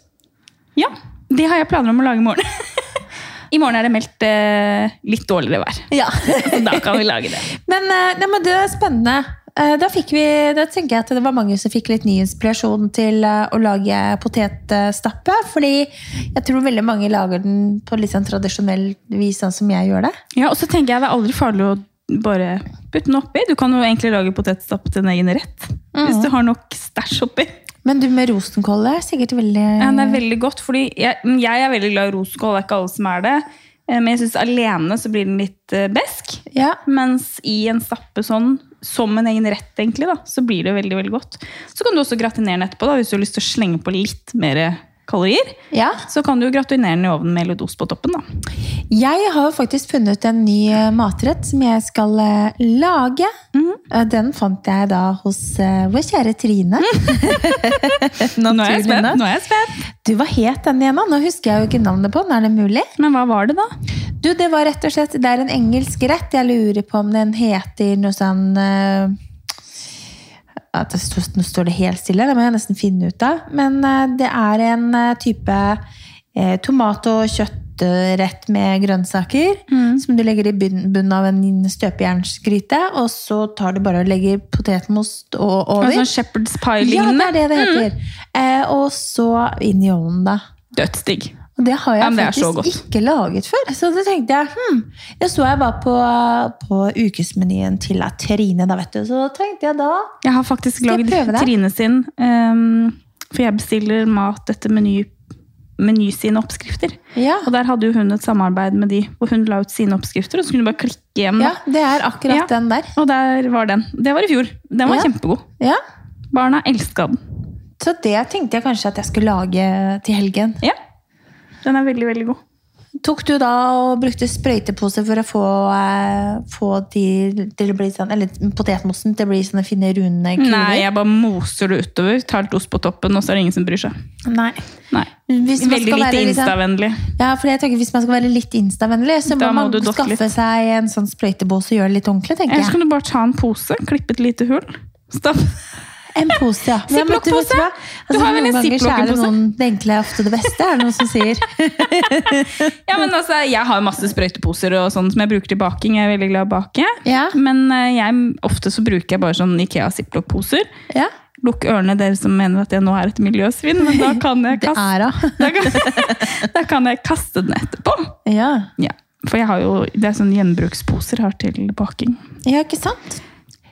Speaker 2: Ja, det har jeg planer om å lage i morgen. I morgen er det meldt eh, litt dårligere vær.
Speaker 1: Ja.
Speaker 2: Så da kan vi lage det.
Speaker 1: Men, eh, nei, men det er spennende. Eh, Da, fikk vi, da tenker jeg at det var mange som fikk litt ny inspirasjon til eh, å lage potetstappe. Fordi jeg tror veldig mange lager den på litt sånn tradisjonell vis, sånn som jeg gjør det.
Speaker 2: Ja, og så tenker jeg det er aldri farlig å bare putte den oppi. Du kan jo egentlig lage potetstappe til en egen rett. Hvis du har nok stæsj oppi.
Speaker 1: Men du med rosenkål er sikkert veldig
Speaker 2: Ja, det er veldig godt, fordi jeg, men jeg er veldig glad i rosenkål. Det er ikke alle som er det. Eh, Men jeg syns alene så blir den litt eh, besk.
Speaker 1: Ja.
Speaker 2: Mens i en stappe sånn, som en egen rett, egentlig, da, så blir det veldig veldig godt. Så kan du også gratinere den etterpå da, hvis du har lyst til å slenge på litt mer kalorier.
Speaker 1: ja.
Speaker 2: Så kan du gratinere den i ovnen med litt ost på toppen. da.
Speaker 1: Jeg har jo faktisk funnet en ny eh, matrett som jeg skal eh, lage.
Speaker 2: Mm.
Speaker 1: Eh, Den fant jeg da hos eh, vår kjære Trine.
Speaker 2: Nå er jeg
Speaker 1: Naturlig
Speaker 2: spent!
Speaker 1: nok.
Speaker 2: nå er jeg spent.
Speaker 1: Du, hva het den igjen? da? Nå husker jeg jo ikke navnet på den. Er det mulig?
Speaker 2: Men hva var det, da?
Speaker 1: Du, Det var rett og slett, det er en engelsk rett. Jeg lurer på om den heter noe sånn eh, at det stod, Nå står det helt stille, det må jeg nesten finne ut av. Men eh, det er en eh, type eh, tomat- og kjøttrett med grønnsaker. Som du legger i bunn- bunnen av en støpejernsgryte. Og så tar du bare og legger potetmost og
Speaker 2: En
Speaker 1: over.
Speaker 2: sånn Shepherd's
Speaker 1: Ja, det
Speaker 2: pie-lignende?
Speaker 1: er det det heter. Eh, og så inn i ovnen, da.
Speaker 2: Dødsdigg.
Speaker 1: Og det har jeg
Speaker 2: Ja, men det er så
Speaker 1: faktisk ikke laget før. Så da tenkte jeg hm. Jeg så jeg bare på, på ukesmenyen til av Trine, da, vet du. Så da tenkte jeg da
Speaker 2: Jeg har faktisk
Speaker 1: Skal jeg
Speaker 2: lagd
Speaker 1: prøve det?
Speaker 2: Trine sin, ehm, for jeg bestiller mat etter meny, meny sine oppskrifter.
Speaker 1: Ja,
Speaker 2: Og der hadde jo hun et samarbeid med de, hvor hun la ut sine oppskrifter, og så kunne du bare klikke hjem.
Speaker 1: ja
Speaker 2: da.
Speaker 1: det er akkurat
Speaker 2: Ja.
Speaker 1: den der.
Speaker 2: Og der var den. Det var i fjor. Den var
Speaker 1: Ja.
Speaker 2: kjempegod.
Speaker 1: Ja.
Speaker 2: Barna elska den.
Speaker 1: Så det tenkte jeg kanskje at jeg skulle lage til helgen.
Speaker 2: Ja. Den er veldig, veldig god.
Speaker 1: Tok du da og brukte sprøytepose for å få, eh, få de til å bli sånn, eller potetmosen til å bli sånne fine, runde kuler?
Speaker 2: Nei, jeg bare moser det utover, tar litt ost på toppen, og så er det ingen som bryr seg.
Speaker 1: Nei.
Speaker 2: Nei.
Speaker 1: Hvis man
Speaker 2: Veldig
Speaker 1: skal
Speaker 2: lite
Speaker 1: være litt sånn-
Speaker 2: instavennlig.
Speaker 1: Ja, for jeg tenker Hvis man skal være litt instavennlig, så må,
Speaker 2: Da må
Speaker 1: man
Speaker 2: du dokke
Speaker 1: skaffe
Speaker 2: litt.
Speaker 1: seg en sånn sprøytebås og gjøre det litt ordentlig. tenker
Speaker 2: Ellers
Speaker 1: jeg.
Speaker 2: kan du bare ta en pose, klippe et lite hull. Stapp.
Speaker 1: En pose, ja. Men jeg måtte-
Speaker 2: Ziplock-pose?
Speaker 1: vet hva? Altså,
Speaker 2: Du har vel
Speaker 1: noen
Speaker 2: en
Speaker 1: ganger så er det
Speaker 2: ziplock-pose?
Speaker 1: noen- Det enkle er ofte det beste, er det noen som sier.
Speaker 2: Ja, men altså, jeg har masse sprøyteposer og sånn som jeg bruker til baking. Jeg er veldig glad i å bake.
Speaker 1: Ja.
Speaker 2: Men eh, jeg, ofte så bruker jeg bare sånn Ikea Ziploc-poser.
Speaker 1: Ja,
Speaker 2: Lukk ørene dere som mener at jeg nå er et miljøsvinn, men da kan jeg
Speaker 1: Det
Speaker 2: kaste,
Speaker 1: er da.
Speaker 2: da kan, da kan jeg kaste den etterpå.
Speaker 1: Ja.
Speaker 2: Ja, for jeg har jo, det er sånn gjenbruksposer her til baking.
Speaker 1: ja, ikke sant?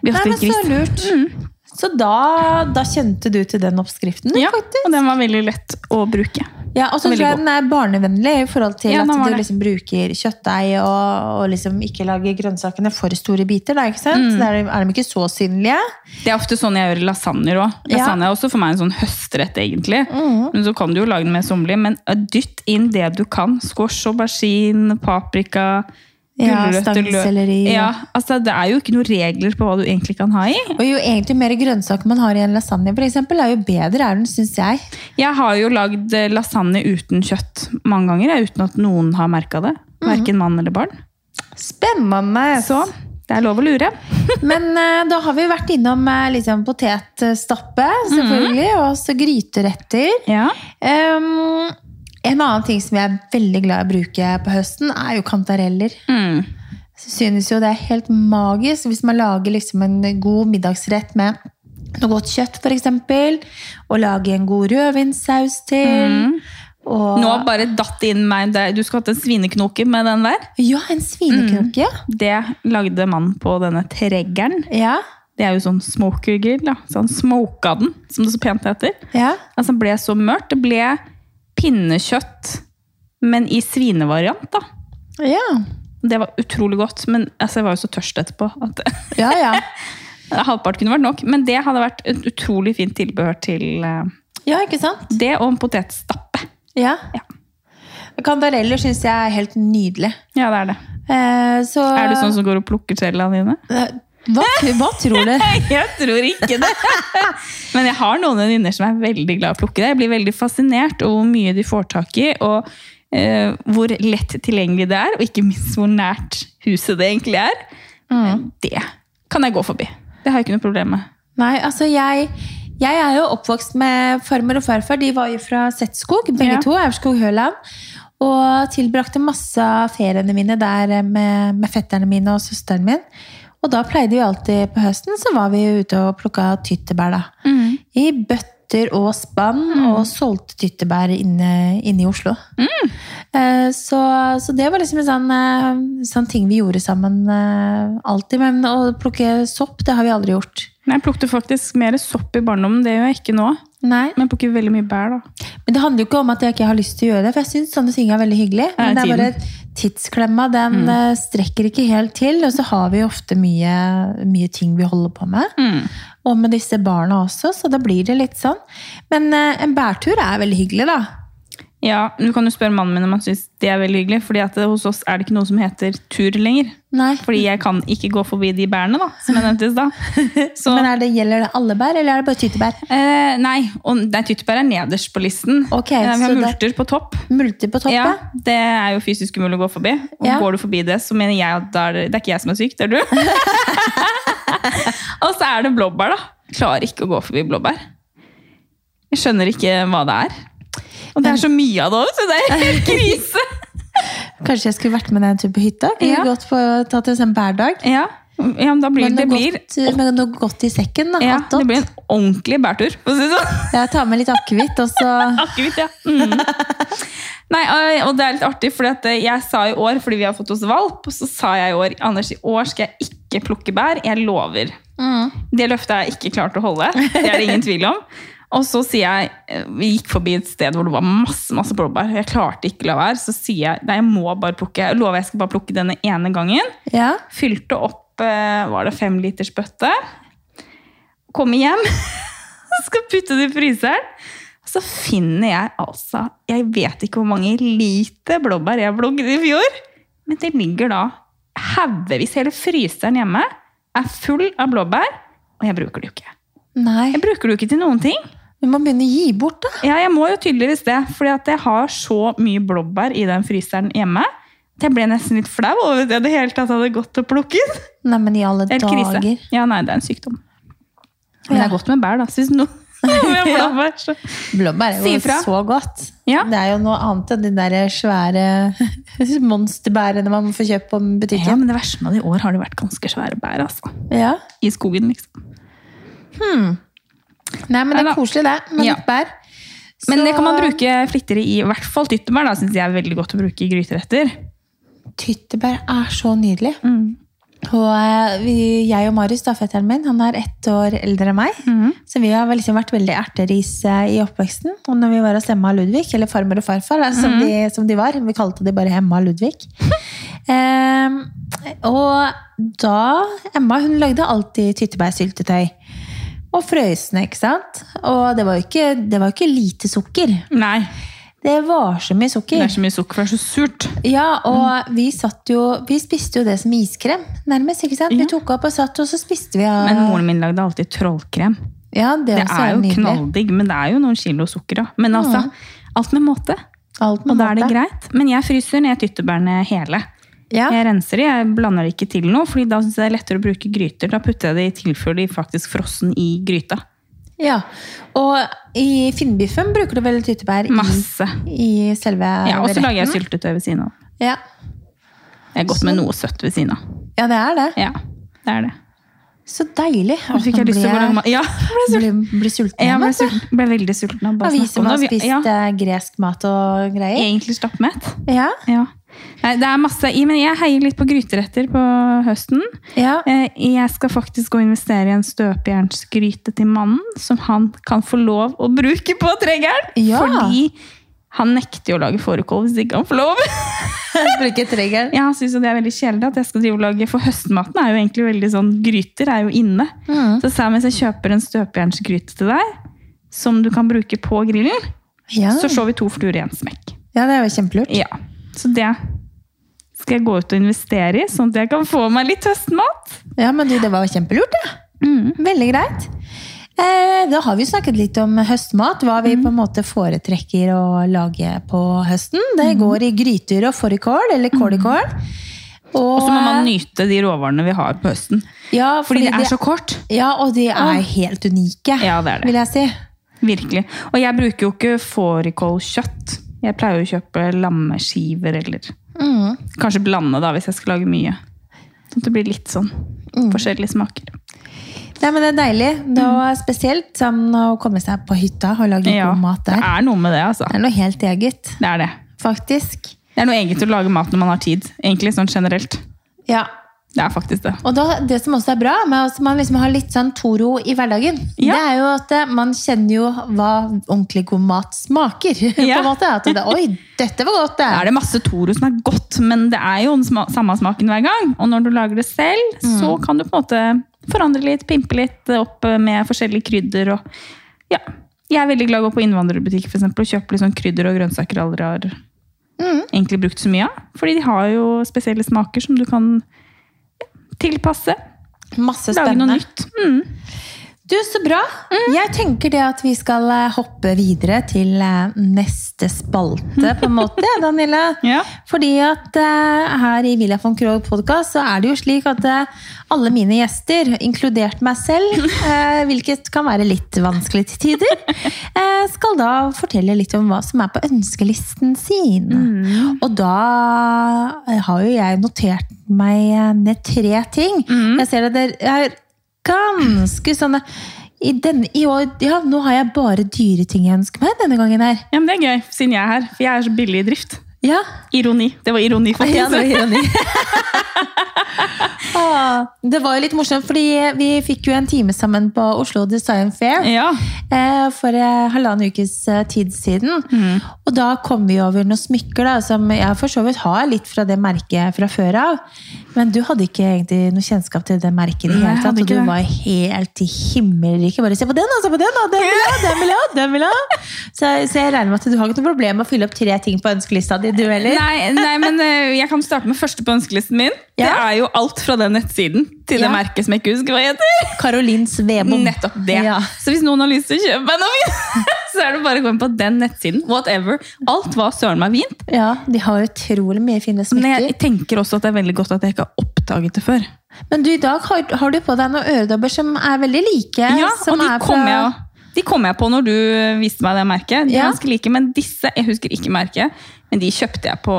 Speaker 2: Vi
Speaker 1: Nei,
Speaker 2: har
Speaker 1: men
Speaker 2: til
Speaker 1: så
Speaker 2: gris.
Speaker 1: lurt. Så da, da kjente du til den oppskriften?
Speaker 2: Mm. Ja,
Speaker 1: faktisk?
Speaker 2: og den var veldig lett å bruke.
Speaker 1: Ja, og så
Speaker 2: Veldig
Speaker 1: tror jeg
Speaker 2: god.
Speaker 1: den er barnevennlig i forhold til
Speaker 2: Ja,
Speaker 1: at
Speaker 2: den var
Speaker 1: du
Speaker 2: det.
Speaker 1: liksom bruker kjøttdeig og, og liksom ikke lager grønnsakene for store biter. Da, ikke
Speaker 2: Mm.
Speaker 1: sant? Så da er de- er de ikke så synlige.
Speaker 2: Det er ofte sånn jeg gjør lasagner òg.
Speaker 1: Ja. Mhm.
Speaker 2: Lasagne er også for meg en sånn høstrett, egentlig. Men så kan du jo lage den mer sommerlig. Men eh, dytt inn det du kan. Squash, aubergine, paprika.
Speaker 1: Ja,
Speaker 2: gulrøtter, løk.
Speaker 1: stangselleri.
Speaker 2: Ja, altså Det er jo ikke noen regler på hva du egentlig kan ha i.
Speaker 1: Og jo egentlig mer grønnsaker man har i en lasagne, for eksempel, er jo bedre er den, syns jeg.
Speaker 2: Jeg har jo lagd eh, lasagne uten kjøtt mange ganger, jeg, uten at noen har merka det.
Speaker 1: Mhm.
Speaker 2: Verken mann eller barn.
Speaker 1: Spennende!
Speaker 2: Så det er lov å lure.
Speaker 1: Sånn. Men eh, da har vi vært innom eh, liksom, potetstappe, selvfølgelig, og også gryteretter.
Speaker 2: Ja.
Speaker 1: Em, en annen ting som jeg er veldig glad i å bruke på høsten, er jo kantareller.
Speaker 2: Mm.
Speaker 1: synes jo det er helt magisk hvis man lager liksom en god middagsrett med noe godt kjøtt, for eksempel. Og lager en god rødvinssaus til. Og,
Speaker 2: Nå bare datt det inn meg det- Du skulle hatt en svineknoke med den der.
Speaker 1: Ja, en svinekroke.
Speaker 2: Det lagde mannen på denne treggeren.
Speaker 1: Ja.
Speaker 2: Det er jo sånn smoker grill, da. Så han smoka den, som det så pent heter.
Speaker 1: ja.
Speaker 2: Altså, det ble så mørkt. Det ble pinnekjøtt, men i svinevariant, da.
Speaker 1: Ja.
Speaker 2: Det var utrolig godt, men altså, jeg var jo så tørst etterpå at
Speaker 1: Ja, ja.
Speaker 2: halvpart kunne vært nok. Men det hadde vært et utrolig fint tilbehør til eh,
Speaker 1: Ja, ikke sant?
Speaker 2: det og en potetstappe.
Speaker 1: Ja.
Speaker 2: Ja.
Speaker 1: Kantareller syns jeg er helt nydelig.
Speaker 2: Ja, det er det.
Speaker 1: Eh, så
Speaker 2: Er du sånn som går og plukker trellene dine?
Speaker 1: Eh, hva, hva tror du?
Speaker 2: Jeg tror ikke det. Men jeg har noen venninner som er veldig glad i å plukke det. Jeg blir veldig fascinert over hvor mye de får tak i, og eh, hvor lett tilgjengelig det er, og ikke minst hvor nært huset det egentlig er. Det kan jeg gå forbi. Det har jeg ikke noe problem med.
Speaker 1: Nei, altså jeg, jeg er jo oppvokst med farmor og farfar. De var jo fra Setskog, begge
Speaker 2: Ja.
Speaker 1: to. Aurskog-Høland. Og tilbrakte masse av feriene mine der med, med fetterne mine og søsteren min. Og da pleide vi alltid på høsten, så var vi ute og plukka tyttebær, da.
Speaker 2: Mm.
Speaker 1: I bøtter og spann, og solgte tyttebær inne, inne i Oslo. Eh, Så, så det var liksom en sånn, eh, sånn ting vi gjorde sammen eh, alltid. Men å plukke sopp, det har vi aldri gjort.
Speaker 2: Men jeg plukte faktisk mer sopp i barndommen, det gjør jeg ikke nå.
Speaker 1: Nei.
Speaker 2: Men jeg plukker veldig mye bær, da.
Speaker 1: Men det handler jo ikke om at jeg ikke har lyst til å gjøre det, for jeg syns sånne ting er veldig hyggelig. Men det
Speaker 2: Ja,
Speaker 1: er bare tidsklemma, den eh, strekker ikke helt til. Og så har vi jo ofte mye, mye ting vi holder på med. Og med disse barna også, så da blir det litt sånn. Men eh, en bærtur er veldig hyggelig, da.
Speaker 2: Ja, Du kan jo spørre mannen min om han syns det er veldig hyggelig, fordi at det, hos oss er det ikke noe som heter tur lenger.
Speaker 1: Nei.
Speaker 2: Fordi jeg kan ikke gå forbi de bærene, da, som jeg nevnte i stad. Så-
Speaker 1: Men er det, gjelder det alle bær, eller er det bare tyttebær?
Speaker 2: Eh, nei, og, nei, tyttebær er nederst på listen.
Speaker 1: Ok,
Speaker 2: Eh, vi
Speaker 1: så
Speaker 2: har
Speaker 1: det-
Speaker 2: multer på topp.
Speaker 1: Multer på
Speaker 2: Ja,
Speaker 1: toppen?
Speaker 2: det er jo fysisk umulig å gå forbi. Og
Speaker 1: Ja.
Speaker 2: går du forbi det, så mener jeg at da er det, det er ikke jeg som er syk, det er du. og så er det blåbær, da. Klarer ikke å gå forbi blåbær. Jeg skjønner ikke hva det er. Og det er så mye av det òg, så det er helt krise.
Speaker 1: Kanskje jeg skulle vært med deg en tur på hytta? Kunne
Speaker 2: Ja.
Speaker 1: vi gått på, tatt en sånn bærdag?
Speaker 2: ja. Ja, men da blir
Speaker 1: Men
Speaker 2: det,
Speaker 1: det,
Speaker 2: blir,
Speaker 1: godt, men noe godt i sekken, da.
Speaker 2: ja,
Speaker 1: Hot
Speaker 2: det
Speaker 1: dot.
Speaker 2: blir en ordentlig bærtur, for å si det sånn.
Speaker 1: Jeg tar med litt akevitt, og så
Speaker 2: Akevitt, ja. Mm. Nei, og- og det er litt artig, for jeg sa i år, fordi vi har fått oss valp, så sa jeg i år Anders, i år skal jeg ikke plukke bær. Jeg lover. Det løftet har jeg ikke klart å holde. Det er det ingen tvil om. Og så sier jeg eh, Vi gikk forbi et sted hvor det var masse masse blåbær. Jeg klarte ikke å la være. Så sier jeg nei, jeg må bare plukke. Jeg lover jeg skal bare plukke denne ene gangen.
Speaker 1: Ja.
Speaker 2: Fylte opp eh, var det fem liters bøtte. Kommer hjem, skal putte det i fryseren. Så finner jeg altså Jeg vet ikke hvor mange liter blåbær jeg blogget i fjor. Men det ligger da haugevis. Hele fryseren hjemme er full av blåbær. Og jeg bruker det jo ikke.
Speaker 1: Nei.
Speaker 2: Jeg bruker det jo ikke til noen ting.
Speaker 1: Vi må begynne å gi bort, da.
Speaker 2: Ja, jeg må jo tydeligvis det, fordi at jeg har så mye blåbær i den fryseren hjemme. at Jeg ble nesten litt flau over at jeg i det hele tatt hadde gått og plukket.
Speaker 1: Nei, men i alle
Speaker 2: Helt
Speaker 1: dager.
Speaker 2: krise. Ja, nei, det er en sykdom. Men det
Speaker 1: Ja.
Speaker 2: er godt med bær, da. Syns noen. Med blåbær, så.
Speaker 1: Blåbær er
Speaker 2: Si
Speaker 1: jo
Speaker 2: ifra.
Speaker 1: så godt.
Speaker 2: Ja.
Speaker 1: Det er jo noe annet enn de der svære monsterbærene man får kjøpt på
Speaker 2: ja,
Speaker 1: butikken.
Speaker 2: men det verste med det i år har det vært ganske svære bær, altså.
Speaker 1: Ja.
Speaker 2: I skogen, liksom.
Speaker 1: Nei, men det
Speaker 2: Neida.
Speaker 1: er koselig, det. Men
Speaker 2: Ja.
Speaker 1: bær.
Speaker 2: Men
Speaker 1: Så-
Speaker 2: det kan man bruke flittigere i, i hvert fall tyttebær, da, syns jeg er veldig godt å bruke i gryteretter.
Speaker 1: Tyttebær er så nydelig.
Speaker 2: Mm.
Speaker 1: Og eh, vi, jeg og Marius, da, fetteren min, han er ett år eldre enn meg.
Speaker 2: Mhm.
Speaker 1: Så vi har vel liksom vært veldig erteris eh, i oppveksten. Og når vi var hos Emma og Ludvig, eller farmor og farfar, da, som, de, som de var Vi kalte de bare Emma og Ludvig. Ehm, og da Emma hun lagde alltid tyttebærsyltetøy. Og frøsne, ikke sant? Og det var jo ikke, det var jo ikke lite sukker.
Speaker 2: Nei,
Speaker 1: Det var så mye
Speaker 2: det
Speaker 1: sukker.
Speaker 2: er så mye sukker, det er så surt.
Speaker 1: Ja, og vi, satt jo, vi spiste jo det som iskrem, nærmest. ikke sant?
Speaker 2: Ja.
Speaker 1: Vi tok opp og satt, og så spiste vi av
Speaker 2: Men moren min lagde alltid trollkrem.
Speaker 1: Ja, det,
Speaker 2: Det
Speaker 1: også
Speaker 2: er jo
Speaker 1: nydelig.
Speaker 2: knalldigg, men det er jo noen kilo sukker, da. Men altså, alt med måte.
Speaker 1: Alt med
Speaker 2: Og da er det
Speaker 1: måte.
Speaker 2: greit. Men jeg fryser ned tyttebærene hele.
Speaker 1: Ja.
Speaker 2: Jeg renser de, jeg blander det ikke til noe, fordi da synes jeg det er lettere å bruke gryter. Da putter jeg det i tilfelle de faktisk frossen i gryta.
Speaker 1: ja. Og i finnbiffen bruker du vel tyttebær i,
Speaker 2: Masse.
Speaker 1: i selve
Speaker 2: Ja, og så
Speaker 1: retten?
Speaker 2: lager jeg syltetøy ved siden av.
Speaker 1: Ja.
Speaker 2: Det er godt med noe søtt ved siden av.
Speaker 1: ja, det er det.
Speaker 2: Ja, det er det.
Speaker 1: Så deilig.
Speaker 2: Nå fikk jeg lyst til å gå og lage mat. Ja, jeg ble sulten.
Speaker 1: ble, ble sulten
Speaker 2: Jeg
Speaker 1: igjen,
Speaker 2: ble,
Speaker 1: vet du.
Speaker 2: sulten. ble veldig sulten av
Speaker 1: Ja,
Speaker 2: bare å
Speaker 1: vi
Speaker 2: snakke
Speaker 1: som
Speaker 2: om
Speaker 1: har
Speaker 2: det. Vi-
Speaker 1: spist
Speaker 2: Ja,
Speaker 1: eh, gresk mat og greier.
Speaker 2: egentlig stappmett.
Speaker 1: Ja.
Speaker 2: Ja. Nei, det er masse i, men jeg heier litt på gryteretter på høsten.
Speaker 1: ja.
Speaker 2: Eh, Jeg skal faktisk gå og investere i en støpejernsgryte til mannen, som han kan få lov å bruke på treggeren.
Speaker 1: Ja.
Speaker 2: Fordi han nekter jo å lage fårikål hvis ikke han får lov.
Speaker 1: Bruke treggeren.
Speaker 2: Ja, han synes jo det er veldig kjedelig at jeg skal drive og lage, for høstmaten er jo egentlig veldig sånn, gryter er jo inne.
Speaker 1: Mm.
Speaker 2: Så sa jeg mens jeg kjøper en støpejernsgryte til deg, som du kan bruke på grillen,
Speaker 1: Ja.
Speaker 2: så slår vi to fluer i en smekk.
Speaker 1: ja, det er jo kjempelurt.
Speaker 2: Ja, så det skal jeg gå ut og investere i, sånn at jeg kan få meg litt høstmat.
Speaker 1: Ja, men du, det var jo kjempelurt, det. Veldig greit. Eh, Da har vi snakket litt om høstmat, hva
Speaker 2: Mm.
Speaker 1: vi på en måte foretrekker å lage på høsten. Det
Speaker 2: Mm.
Speaker 1: går i gryter og fårikål, eller kålikål.
Speaker 2: Og så må man nyte de råvarene vi har på høsten.
Speaker 1: ja,
Speaker 2: Fordi det er så kort.
Speaker 1: Ja, og de er helt unike,
Speaker 2: Ja, det er det.
Speaker 1: vil jeg si.
Speaker 2: Virkelig. Og jeg bruker jo ikke fårikålkjøtt. Jeg pleier jo å kjøpe lammeskiver eller
Speaker 1: Mm.
Speaker 2: kanskje blande da, hvis jeg skal lage mye. Sånn at det blir litt sånn forskjellige smaker.
Speaker 1: Nei, men det er deilig. Det var spesielt sånn å komme seg på hytta og lage
Speaker 2: Mm. Ja,
Speaker 1: god mat
Speaker 2: det
Speaker 1: der.
Speaker 2: er noe med det, altså.
Speaker 1: Det er noe helt eget,
Speaker 2: Det er det.
Speaker 1: faktisk.
Speaker 2: Det er noe eget å lage mat når man har tid. Egentlig sånn generelt.
Speaker 1: Ja,
Speaker 2: Det er faktisk det.
Speaker 1: Og da, det som også er bra med at man liksom har litt sånn toro i hverdagen,
Speaker 2: Ja.
Speaker 1: det er jo at eh, man kjenner jo hva ordentlig god mat smaker.
Speaker 2: Ja.
Speaker 1: på en måte. At det, Oi, dette var godt, det!
Speaker 2: Da er det masse Toro som er godt, men det er jo den sma samme smaken hver gang. Og når du lager det selv, så
Speaker 1: Mm.
Speaker 2: kan du på en måte forandre litt, pimpe litt opp med forskjellige krydder og Ja. Jeg er veldig glad i å gå på innvandrerbutikk for eksempel, og kjøpe litt sånn krydder og grønnsaker jeg aldri har
Speaker 1: Mm.
Speaker 2: egentlig brukt så mye av. Fordi de har jo spesielle smaker som du kan ja, tilpasse.
Speaker 1: Masse
Speaker 2: Lage noe
Speaker 1: spennende.
Speaker 2: nytt. Mm.
Speaker 1: Du, så bra. Jeg tenker det at vi skal eh, hoppe videre til eh, neste spalte, på en måte, Daniele.
Speaker 2: Ja.
Speaker 1: Fordi at eh, her i Villa von Krogh podkast så er det jo slik at eh, alle mine gjester, inkludert meg selv, eh, hvilket kan være litt vanskelig til tider, eh, skal da fortelle litt om hva som er på ønskelisten sin. Og da eh, har jo jeg notert meg eh, ned tre ting. Jeg ser at det er ganske sånne i, den, i år, ja, nå har jeg bare dyre ting jeg ønsker meg denne gangen her.
Speaker 2: ja, men det er gøy, siden jeg er her. For jeg er så billig i drift.
Speaker 1: Ja,
Speaker 2: Ironi. Det var ironi,
Speaker 1: Ja, det var
Speaker 2: faktisk.
Speaker 1: ironi. ah, det var jo litt morsomt, fordi vi fikk jo en time sammen på Oslo Design Fair
Speaker 2: Ja.
Speaker 1: eh, for eh, halvannen ukes eh, tid siden.
Speaker 2: Mhm.
Speaker 1: Og da kom vi over noen smykker da, som jeg for så vidt har litt fra det merket fra før av. Men du hadde ikke egentlig noe kjennskap til det merket i det
Speaker 2: Nei,
Speaker 1: hele
Speaker 2: jeg
Speaker 1: tatt.
Speaker 2: hadde
Speaker 1: Og
Speaker 2: ikke
Speaker 1: du
Speaker 2: det.
Speaker 1: var helt i himmelriket. Bare se på den, og se på den, og den vil jeg ha, den vil jeg ha, den vil jeg ha. Så, så jeg regner med at du har ikke noe problem med å fylle opp tre ting på ønskelista di, du heller.
Speaker 2: Nei, nei, men eh, jeg kan starte med første på ønskelisten min. Det
Speaker 1: Ja.
Speaker 2: er jo alt fra den nettsiden til det
Speaker 1: Ja.
Speaker 2: merket som jeg ikke husker hva heter.
Speaker 1: Caroline Svebom.
Speaker 2: Nettopp det.
Speaker 1: Ja.
Speaker 2: Så hvis noen har lyst til å kjøpe meg noe vin, så er det bare å gå inn på den nettsiden. Whatever. Alt var søren meg fint.
Speaker 1: ja, de har utrolig mye fine
Speaker 2: Men
Speaker 1: smykker.
Speaker 2: jeg tenker også at det er veldig godt at jeg ikke har oppdaget det før.
Speaker 1: Men du, i dag har, har du på deg noen øredobber som er veldig like.
Speaker 2: Ja,
Speaker 1: som
Speaker 2: og de
Speaker 1: er
Speaker 2: kom, jeg, de kom jeg på når du eh, viste meg det merket. De er
Speaker 1: Ja.
Speaker 2: ganske like, men disse, jeg husker ikke merket, men de kjøpte jeg på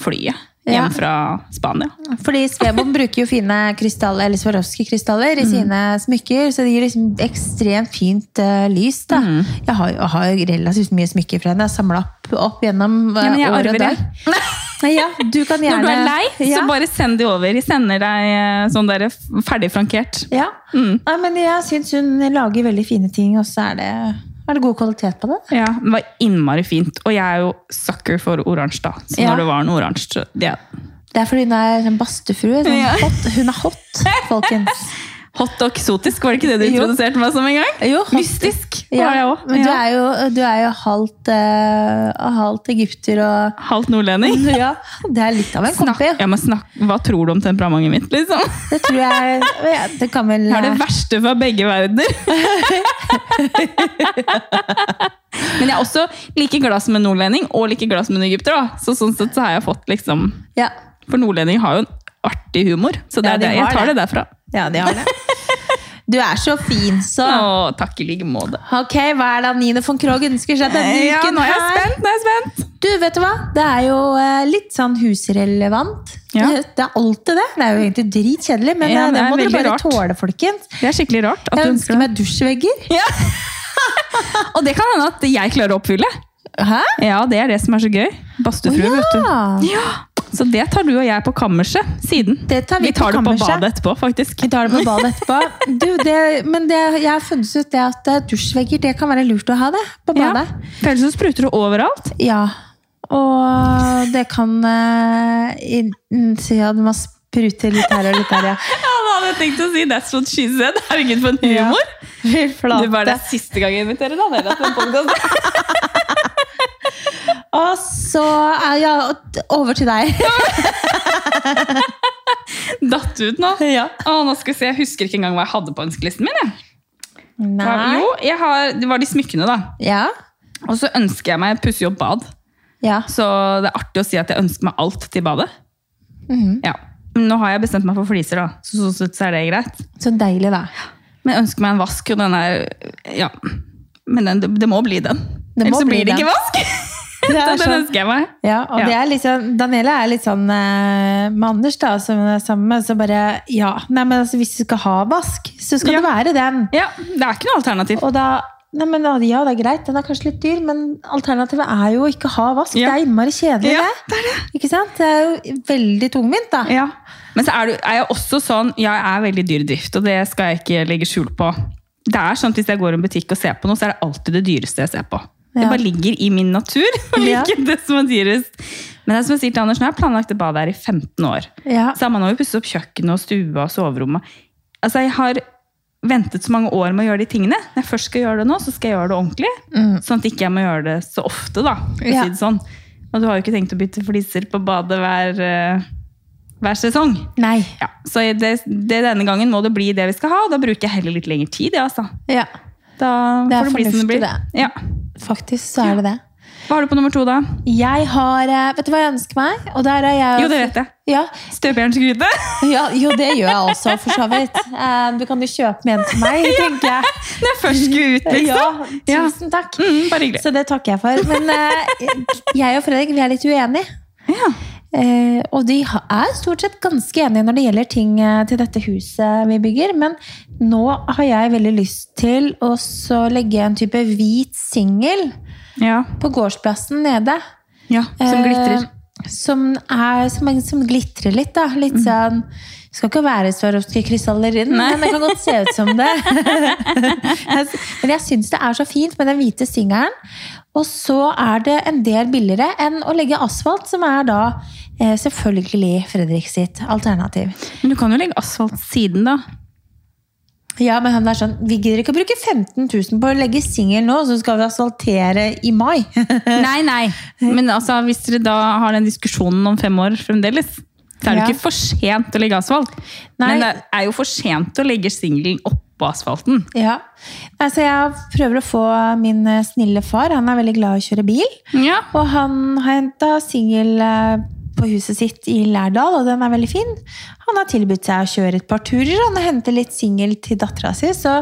Speaker 2: flyet
Speaker 1: Ja.
Speaker 2: hjem fra Spania.
Speaker 1: Fordi Svebom bruker jo fine krystaller, eller Swarovski-krystaller i
Speaker 2: Mm.
Speaker 1: sine smykker, så det gir liksom ekstremt fint eh, lys. da.
Speaker 2: Mm.
Speaker 1: Jeg har, jeg har jo relativt mye smykker fra henne. Jeg har samla opp, opp gjennom uh,
Speaker 2: Ja, men jeg
Speaker 1: år og
Speaker 2: arver det.
Speaker 1: dag. Nei, Ja, du kan gjerne...
Speaker 2: Når du er lei, så
Speaker 1: Ja.
Speaker 2: bare send de over. De sender deg eh, sånn der ferdig frankert.
Speaker 1: Ja.
Speaker 2: Mm.
Speaker 1: Nei, men jeg syns hun lager veldig fine ting, og så er det, er det god kvalitet på det.
Speaker 2: Ja, det var innmari fint. Og jeg er jo sucker for oransje, da. Så
Speaker 1: Ja.
Speaker 2: når det var noe oransje så- det er
Speaker 1: Det er fordi hun er sånn badstufrue. Sånn
Speaker 2: Ja.
Speaker 1: hot. Hun er hot, folkens.
Speaker 2: Hot og eksotisk, var det ikke det du
Speaker 1: Jo.
Speaker 2: introduserte meg som en gang?
Speaker 1: Jo, hot.
Speaker 2: Mystisk var jeg òg.
Speaker 1: Men du
Speaker 2: Ja.
Speaker 1: er jo, du er jo halvt, eh, halvt egypter og
Speaker 2: Halvt nordlending.
Speaker 1: ja, Det er litt av en kompi.
Speaker 2: Ja, men snakk, hva tror du om temperamentet mitt, liksom?
Speaker 1: Det tror jeg ja, Det kan vel
Speaker 2: Jeg har det verste fra begge verdener. men jeg er også like glad som en nordlending og like glad som en egypter. da. Så sånn sett så har jeg fått liksom
Speaker 1: ja.
Speaker 2: For nordlending har jo en artig humor. Så det
Speaker 1: Ja,
Speaker 2: er
Speaker 1: de
Speaker 2: det.
Speaker 1: har
Speaker 2: jeg tar
Speaker 1: det.
Speaker 2: det, derfra.
Speaker 1: ja, de har det. Du er så fin, så.
Speaker 2: Å, takk i like måte.
Speaker 1: Ok, Hva er det Nine von Krogh ønsker seg denne
Speaker 2: Ja,
Speaker 1: uken?
Speaker 2: nå er jeg
Speaker 1: her?
Speaker 2: spent! Nå er jeg spent.
Speaker 1: Du, vet du hva? Det er jo eh, litt sånn husrelevant.
Speaker 2: Ja.
Speaker 1: Det, det er alltid det. Det er jo egentlig dritkjedelig, men
Speaker 2: Ja,
Speaker 1: eh, det,
Speaker 2: det er
Speaker 1: må dere
Speaker 2: veldig
Speaker 1: bare
Speaker 2: rart.
Speaker 1: tåle, folkens.
Speaker 2: Det er skikkelig rart at
Speaker 1: Jeg
Speaker 2: du
Speaker 1: ønsker
Speaker 2: ønsker det.
Speaker 1: meg dusjvegger.
Speaker 2: Ja. og det kan hende at jeg klarer å oppfylle.
Speaker 1: Hæ?
Speaker 2: Ja, det er det som er så gøy. Badstufrue, vet du.
Speaker 1: Ja.
Speaker 2: Så det tar du og jeg på kammerset siden.
Speaker 1: Det tar vi
Speaker 2: vi tar
Speaker 1: på
Speaker 2: det på
Speaker 1: kammerset.
Speaker 2: badet etterpå, faktisk.
Speaker 1: Vi tar det på badet etterpå. Du, det, men det, jeg har funnet ut det at eh, dusjvegger det kan være lurt å ha det på
Speaker 2: Ja.
Speaker 1: badet.
Speaker 2: For ellers så spruter det overalt.
Speaker 1: Ja. Og det kan eh, i- mm, så Ja, man spruter litt her og litt der, ja.
Speaker 2: Ja, da hadde jeg tenkt å si That's what she said. Herregud, for en
Speaker 1: humor. Fy
Speaker 2: Det var det
Speaker 1: flate.
Speaker 2: siste gang jeg inviterer da, dere til en podcast.
Speaker 1: Og så eh, Ja, og- over til deg.
Speaker 2: Datt ut nå.
Speaker 1: Ja.
Speaker 2: Å, nå skal vi se. Jeg husker ikke engang hva jeg hadde på ønskelisten min. Jeg.
Speaker 1: Nei.
Speaker 2: Jo, jeg har, det var de smykkene, da.
Speaker 1: Ja.
Speaker 2: Og så ønsker jeg meg pussig opp bad.
Speaker 1: Ja.
Speaker 2: Så det er artig å si at jeg ønsker meg alt til badet.
Speaker 1: Mhm.
Speaker 2: Ja. Men Nå har jeg bestemt meg for fliser, da. Så sånn sett så er det greit.
Speaker 1: Så deilig, da.
Speaker 2: Men jeg ønsker meg en vask, og den er Ja. Men den, det, det må bli den.
Speaker 1: Det må
Speaker 2: Ellers så
Speaker 1: bli
Speaker 2: blir det
Speaker 1: den.
Speaker 2: ikke vask!
Speaker 1: Det
Speaker 2: Så
Speaker 1: er
Speaker 2: den
Speaker 1: sånn.
Speaker 2: ønsker jeg meg.
Speaker 1: Ja, og
Speaker 2: Ja.
Speaker 1: det er litt sånn- Daniela er litt sånn eh, med Anders, da, som hun er sammen med. Så bare Ja, nei, men altså, hvis du skal ha vask, så skal det
Speaker 2: Ja.
Speaker 1: være den.
Speaker 2: Ja, Det er ikke noe alternativ.
Speaker 1: Og da Nei, men ja, det er greit, den er kanskje litt dyr, men alternativet er jo å ikke ha vask.
Speaker 2: Ja.
Speaker 1: Det er innmari kjedelig,
Speaker 2: Ja,
Speaker 1: det. Ikke sant? Det er jo veldig tungvint, da.
Speaker 2: Ja. Men så er, du, er jeg også sånn ja, Jeg er veldig dyr i drift, og det skal jeg ikke legge skjul på. Det er sånn at Hvis jeg går i en butikk og ser på noe, så er det alltid det dyreste jeg ser på. Det
Speaker 1: Ja.
Speaker 2: bare ligger i min natur å
Speaker 1: Ja.
Speaker 2: like det som er dyrest. Men det er som jeg sier til Anders, nå har jeg planlagt det badet her i 15 år.
Speaker 1: Ja.
Speaker 2: Så har man jo pusset opp kjøkkenet og stua og soverommet. Altså, jeg har ventet så mange år med å gjøre de tingene. Når jeg først skal gjøre det nå, så skal jeg gjøre det ordentlig. Sånn at ikke jeg må gjøre det så ofte, da. for å
Speaker 1: Mm. Ja.
Speaker 2: Si det sånn. Og du har jo ikke tenkt å bytte fliser på badet hver eh, hver sesong.
Speaker 1: Nei.
Speaker 2: Ja, så det, det, denne gangen må det bli det vi skal ha. Da bruker jeg heller litt lengre tid. Ja, altså.
Speaker 1: Ja,
Speaker 2: da
Speaker 1: Det er
Speaker 2: får det bli som det
Speaker 1: fornuftig,
Speaker 2: blir.
Speaker 1: det.
Speaker 2: Ja.
Speaker 1: faktisk så er det det.
Speaker 2: Hva har du på nummer to, da?
Speaker 1: Jeg har eh, Vet du hva jeg ønsker meg? Og der er jeg
Speaker 2: Jo, det vet jeg.
Speaker 1: Ja,
Speaker 2: Støpejernsgryte.
Speaker 1: ja, jo, det gjør jeg også, for så vidt. Eh, Du kan jo kjøpe med en til meg, tenker jeg.
Speaker 2: Når jeg først skulle ut,
Speaker 1: Ja,
Speaker 2: liksom. Ja.
Speaker 1: tusen takk.
Speaker 2: Mm, bare hyggelig.
Speaker 1: Så det takker jeg for. Men eh, jeg og Fredrik vi er litt uenige.
Speaker 2: Ja.
Speaker 1: Eh, og de ha- er stort sett ganske enige når det gjelder ting eh, til dette huset vi bygger. Men nå har jeg veldig lyst til å så legge en type hvit singel
Speaker 2: Ja.
Speaker 1: på gårdsplassen nede.
Speaker 2: ja. Som glitrer.
Speaker 1: Eh, som, er, som, er, som glitrer litt, da. Litt sånn det skal ikke være Swarovski krystaller i den, men det kan godt se ut som det. men jeg syns det er så fint med den hvite singelen. Og så er det en del billigere enn å legge asfalt, som er da eh, selvfølgelig Fredrik sitt alternativ.
Speaker 2: Men du kan jo legge asfalt siden, da.
Speaker 1: Ja, men han er sånn Vi gidder ikke å bruke 15 000 på å legge singel nå, så skal vi asfaltere i mai.
Speaker 2: Nei, nei. Men altså, hvis dere da har den diskusjonen om fem år fremdeles, så er det
Speaker 1: Ja.
Speaker 2: ikke for sent å legge asfalt.
Speaker 1: Nei.
Speaker 2: Men det er jo for sent å legge singelen oppå asfalten.
Speaker 1: Ja. Altså, jeg prøver å få min eh, snille far. Han er veldig glad i å kjøre bil.
Speaker 2: Ja.
Speaker 1: Og han har henta singel eh, på huset sitt i Lærdal, og den er veldig fin. Han har tilbudt seg å kjøre et par turer han, og hente litt singel til dattera si. Så,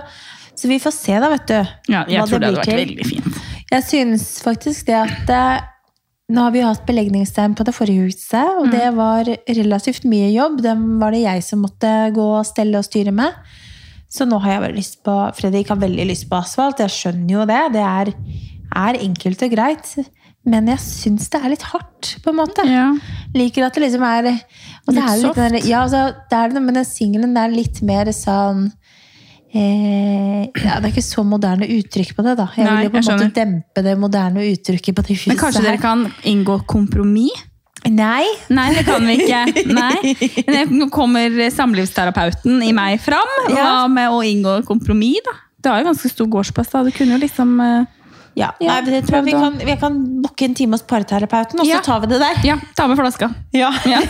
Speaker 1: så vi får se, da, vet du.
Speaker 2: ja jeg
Speaker 1: hva
Speaker 2: tror det
Speaker 1: blir
Speaker 2: hadde vært veldig fint.
Speaker 1: Jeg synes faktisk det at eh, nå har vi jo hatt belegningsstein på det forrige huset, og det var relativt mye jobb. Dem var det jeg som måtte gå og stelle og styre med. Så nå har jeg veldig lyst på Fredrik har veldig lyst på asfalt, jeg skjønner jo det. Det er, er enkelt og greit. Men jeg syns det er litt hardt, på en måte.
Speaker 2: Ja.
Speaker 1: Liker at det liksom er og det
Speaker 2: Litt
Speaker 1: er jo
Speaker 2: soft.
Speaker 1: litt den der- Ja, altså, det er det, men den singelen er litt mer sånn eh, ja, Det er ikke så moderne uttrykk på det, da. Jeg
Speaker 2: Nei,
Speaker 1: vil jo på en
Speaker 2: jeg
Speaker 1: måte dempe det moderne uttrykket på det huset
Speaker 2: Men kanskje dere kan inngå kompromiss?
Speaker 1: kan Nei!
Speaker 2: Nei, det kan vi ikke. Nei. Men Nå kommer samlivsterapeuten i meg fram. Hva
Speaker 1: Ja.
Speaker 2: med å inngå kompromiss, da? Du har jo ganske stor gårdsplass, da. Du kunne jo liksom eh,
Speaker 1: Ja,
Speaker 2: Ja,
Speaker 1: nei, men jeg tror
Speaker 2: prøv
Speaker 1: vi
Speaker 2: da.
Speaker 1: kan, jeg kan booke en time hos parterapeuten, og så
Speaker 2: Ja.
Speaker 1: tar vi det der.
Speaker 2: Ja, ta med flaska.
Speaker 1: Ja.
Speaker 2: Ja.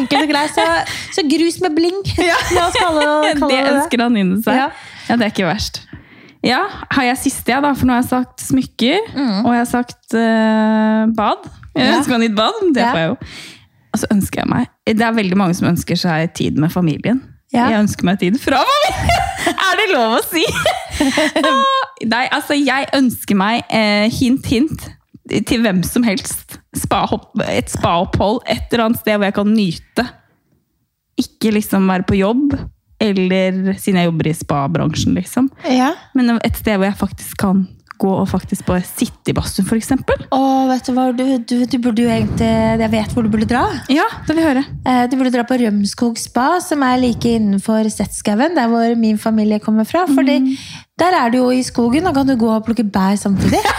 Speaker 1: Enkelt og greit. Så, så grus med bling! La oss kalle, det- kalle
Speaker 2: Det
Speaker 1: det det.
Speaker 2: ønsker han inni seg.
Speaker 1: Ja.
Speaker 2: Ja. det er ikke verst. Ja, har jeg siste, jeg, da? For nå har jeg sagt smykker, og jeg har sagt eh, bad. Jeg
Speaker 1: Mm. Ja.
Speaker 2: ønsker meg nytt bad. Det
Speaker 1: Ja.
Speaker 2: får jeg jo. Og så ønsker jeg meg Det er veldig mange som ønsker seg tid med familien.
Speaker 1: Ja.
Speaker 2: Jeg ønsker meg tid fra familien! er det lov å si? Ah, Nei, altså, jeg ønsker meg eh, hint, hint til hvem som helst. Spahopp, et spaopphold et eller annet sted hvor jeg kan nyte ikke liksom være på jobb, eller siden jeg jobber i spa-bransjen, liksom.
Speaker 1: Ja.
Speaker 2: Men et sted hvor jeg faktisk kan gå og faktisk bare sitte i badstuen, for eksempel.
Speaker 1: Å, vet du hva, du, du, du burde jo egentlig Jeg vet hvor du burde dra.
Speaker 2: Ja, det vil jeg høre.
Speaker 1: Eh, Du burde dra på Rømskog spa, som er like innenfor Setskauen, der hvor min familie kommer fra. Fordi
Speaker 2: Mhm.
Speaker 1: der er du jo i skogen, og kan du gå og plukke bær samtidig.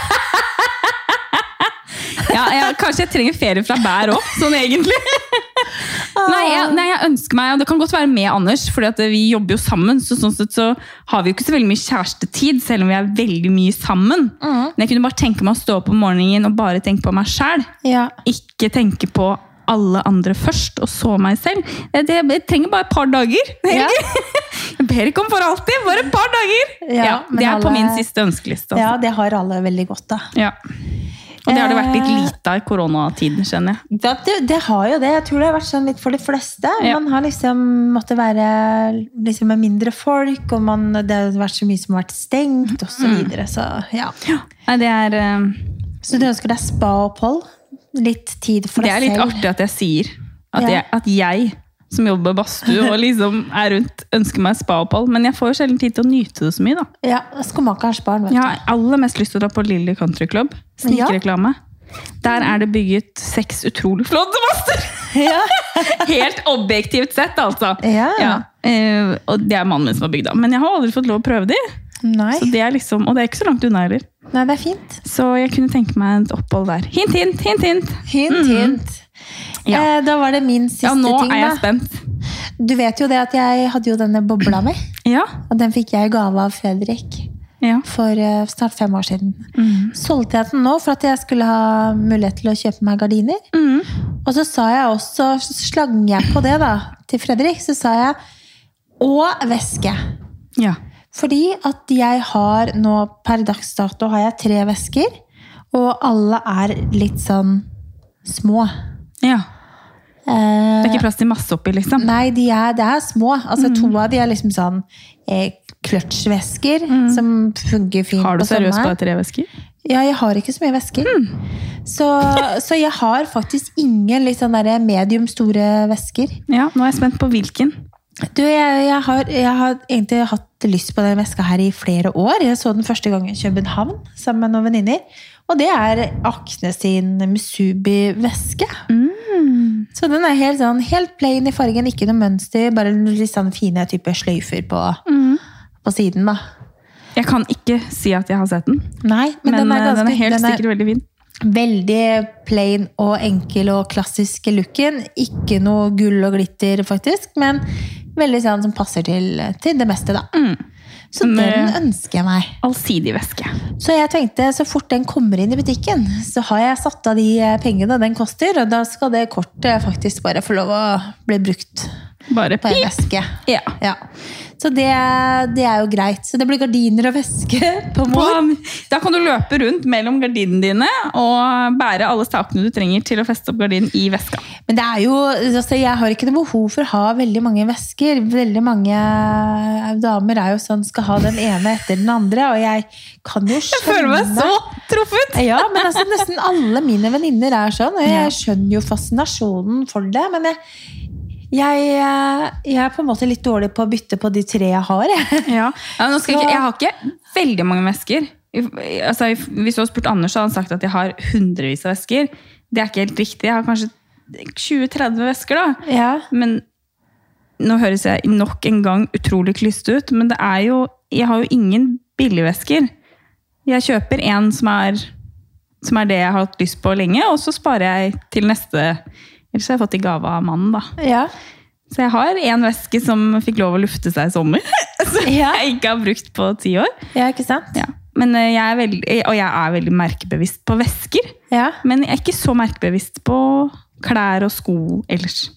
Speaker 2: Ja, jeg, kanskje jeg trenger ferie fra bær òg, sånn egentlig.
Speaker 1: Ah.
Speaker 2: Nei jeg, nei, jeg ønsker meg, og det kan godt være med Anders, for vi jobber jo sammen. Så sånn sett så har vi jo ikke så veldig mye kjærestetid, selv om vi er veldig mye sammen.
Speaker 1: Mhm.
Speaker 2: Men jeg kunne bare tenke meg å stå opp om morgenen og bare tenke på meg sjæl.
Speaker 1: Ja.
Speaker 2: ikke tenke på alle andre først, og så meg selv. Det, det, jeg trenger bare et par dager.
Speaker 1: Ja.
Speaker 2: Jeg ber ikke om for alltid, bare et par dager!
Speaker 1: Ja,
Speaker 2: Ja,
Speaker 1: men
Speaker 2: det er på
Speaker 1: alle-
Speaker 2: min siste ønskeliste.
Speaker 1: ja,
Speaker 2: Altså.
Speaker 1: det har alle veldig godt av.
Speaker 2: Ja. Og det har det vært litt
Speaker 1: Eh.
Speaker 2: lite av i koronatiden, skjønner jeg.
Speaker 1: Det, det har jo det. Jeg tror det har vært sånn litt for de fleste.
Speaker 2: Ja.
Speaker 1: Man har liksom måttet være liksom med mindre folk, og man, det har vært så mye som har vært stengt, osv. Så,
Speaker 2: Mhm.
Speaker 1: videre, så ja.
Speaker 2: Nei, det er, eh,
Speaker 1: Så du ønsker deg spaopphold? Litt tid for
Speaker 2: det er
Speaker 1: deg
Speaker 2: litt
Speaker 1: selv?
Speaker 2: artig at jeg sier at,
Speaker 1: Ja.
Speaker 2: jeg, at jeg som jobber i badstue og liksom er rundt, ønsker meg spaopphold, men jeg får jo sjelden tid til å nyte det så mye, da.
Speaker 1: Ja, Skomakerens barn, vet
Speaker 2: Jeg har aller mest lyst til å dra på Lilly Country Club. Snikreklame. Der er det bygget seks utrolig flotte master!
Speaker 1: du. Ja.
Speaker 2: Helt objektivt sett, altså.
Speaker 1: Ja.
Speaker 2: eh, og det er mannen min som har bygd dem. Men jeg har aldri fått lov å prøve de.
Speaker 1: Nei.
Speaker 2: Så det er liksom, og det er ikke så langt unna heller.
Speaker 1: Nei, det er fint.
Speaker 2: Så jeg kunne tenke meg et opphold der. Hint, hint, hint, hint!
Speaker 1: Hint, hint.
Speaker 2: Mhm. Ja.
Speaker 1: Eh, da var det min siste
Speaker 2: Ja, nå
Speaker 1: ting,
Speaker 2: er jeg
Speaker 1: da.
Speaker 2: spent.
Speaker 1: Du vet jo det at jeg hadde jo denne bobla mi.
Speaker 2: Ja.
Speaker 1: Og den fikk jeg i gave av Fredrik
Speaker 2: ja.
Speaker 1: for eh, snart fem
Speaker 2: Mhm.
Speaker 1: år siden. Solgte jeg den nå for at jeg skulle ha mulighet til å kjøpe meg gardiner.
Speaker 2: Mm.
Speaker 1: Og så sa jeg også, så slang jeg på det da, til Fredrik, så sa jeg og væske.
Speaker 2: Ja.
Speaker 1: Fordi at jeg har nå per dags dato har jeg tre væsker, og alle er litt sånn små.
Speaker 2: ja. Det
Speaker 1: Eh,
Speaker 2: er ikke plass til masse oppi, liksom.
Speaker 1: Nei, de er, det er små. Altså,
Speaker 2: Mm.
Speaker 1: To av de er liksom sånn eh, kløtsjvesker som fungerer fint
Speaker 2: Mm. Har du
Speaker 1: på
Speaker 2: seriøst Mm.
Speaker 1: sommeren.
Speaker 2: bare tre væsker?
Speaker 1: Ja, jeg har ikke så mye væsker. Så, så jeg har faktisk ingen litt sånn derre medium store væsker.
Speaker 2: Ja, nå er jeg spent på hvilken.
Speaker 1: Du, jeg, jeg, har, jeg har egentlig hatt lyst på den veska her i flere år. Jeg så den første gang i København sammen med noen venninner. Og det er Akne sin Musubi-veske. Så den er helt, sånn, helt plain i fargen, ikke noe mønster. Bare litt sånn fine type sløyfer på, på siden, da.
Speaker 2: Jeg kan ikke si at jeg har sett den,
Speaker 1: Nei, men,
Speaker 2: men, eh,
Speaker 1: den er ganske
Speaker 2: helt
Speaker 1: den er-
Speaker 2: sikkert veldig fin.
Speaker 1: Veldig plain og enkel og klassisk looken. Ikke noe gull og glitter, faktisk, men veldig sånn som passer til, til det meste, da. Så
Speaker 2: Men-
Speaker 1: den ønsker jeg meg.
Speaker 2: Allsidig væske.
Speaker 1: Så jeg tenkte, så fort den kommer inn i butikken, så har jeg satt av de eh, pengene den koster, og da skal det kortet faktisk bare få lov å bli brukt
Speaker 2: Bare
Speaker 1: på en
Speaker 2: pip!
Speaker 1: veske.
Speaker 2: Ja.
Speaker 1: Ja. Så det, det er jo greit. Så det blir gardiner og veske på
Speaker 2: På,
Speaker 1: mor.
Speaker 2: da kan du løpe rundt mellom gardinene dine og bære alle stakene du trenger til å feste opp gardinen i veska.
Speaker 1: Men det er jo, altså jeg har ikke noe behov for å ha veldig mange vesker. Veldig mange damer er jo sånn, skal ha den ene etter den andre, og jeg kan jo skjønne
Speaker 2: Jeg føler meg så truffet!
Speaker 1: Ja, men altså nesten alle mine venninner er sånn, og jeg skjønner jo fascinasjonen for det, men jeg, jeg, eh, jeg er på en måte litt dårlig på å bytte på de tre jeg har, jeg.
Speaker 2: Ja. men nå skal
Speaker 1: Så-
Speaker 2: jeg, ikke, jeg har ikke veldig mange vesker. I- Altså, hvis du hadde spurt Anders, så hadde han sagt at jeg har hundrevis av vesker. Det er ikke helt riktig. Jeg har kanskje 20-30 vesker, da.
Speaker 1: Ja.
Speaker 2: Men nå høres jeg nok en gang utrolig klyste ut, men det er jo Jeg har jo ingen billigvesker. Jeg kjøper en som er, som er det jeg har hatt lyst på lenge, og så sparer jeg til neste. Ellers har jeg fått i gave av mannen, da.
Speaker 1: Ja.
Speaker 2: Så jeg har en veske som fikk lov å lufte seg i sommer. Som
Speaker 1: Ja.
Speaker 2: jeg ikke har brukt på ti år.
Speaker 1: ja, ikke sant?
Speaker 2: Ja. Men eh, jeg er veldig, og jeg er veldig merkebevisst på vesker.
Speaker 1: Ja.
Speaker 2: Men jeg er ikke så merkebevisst på klær og sko ellers.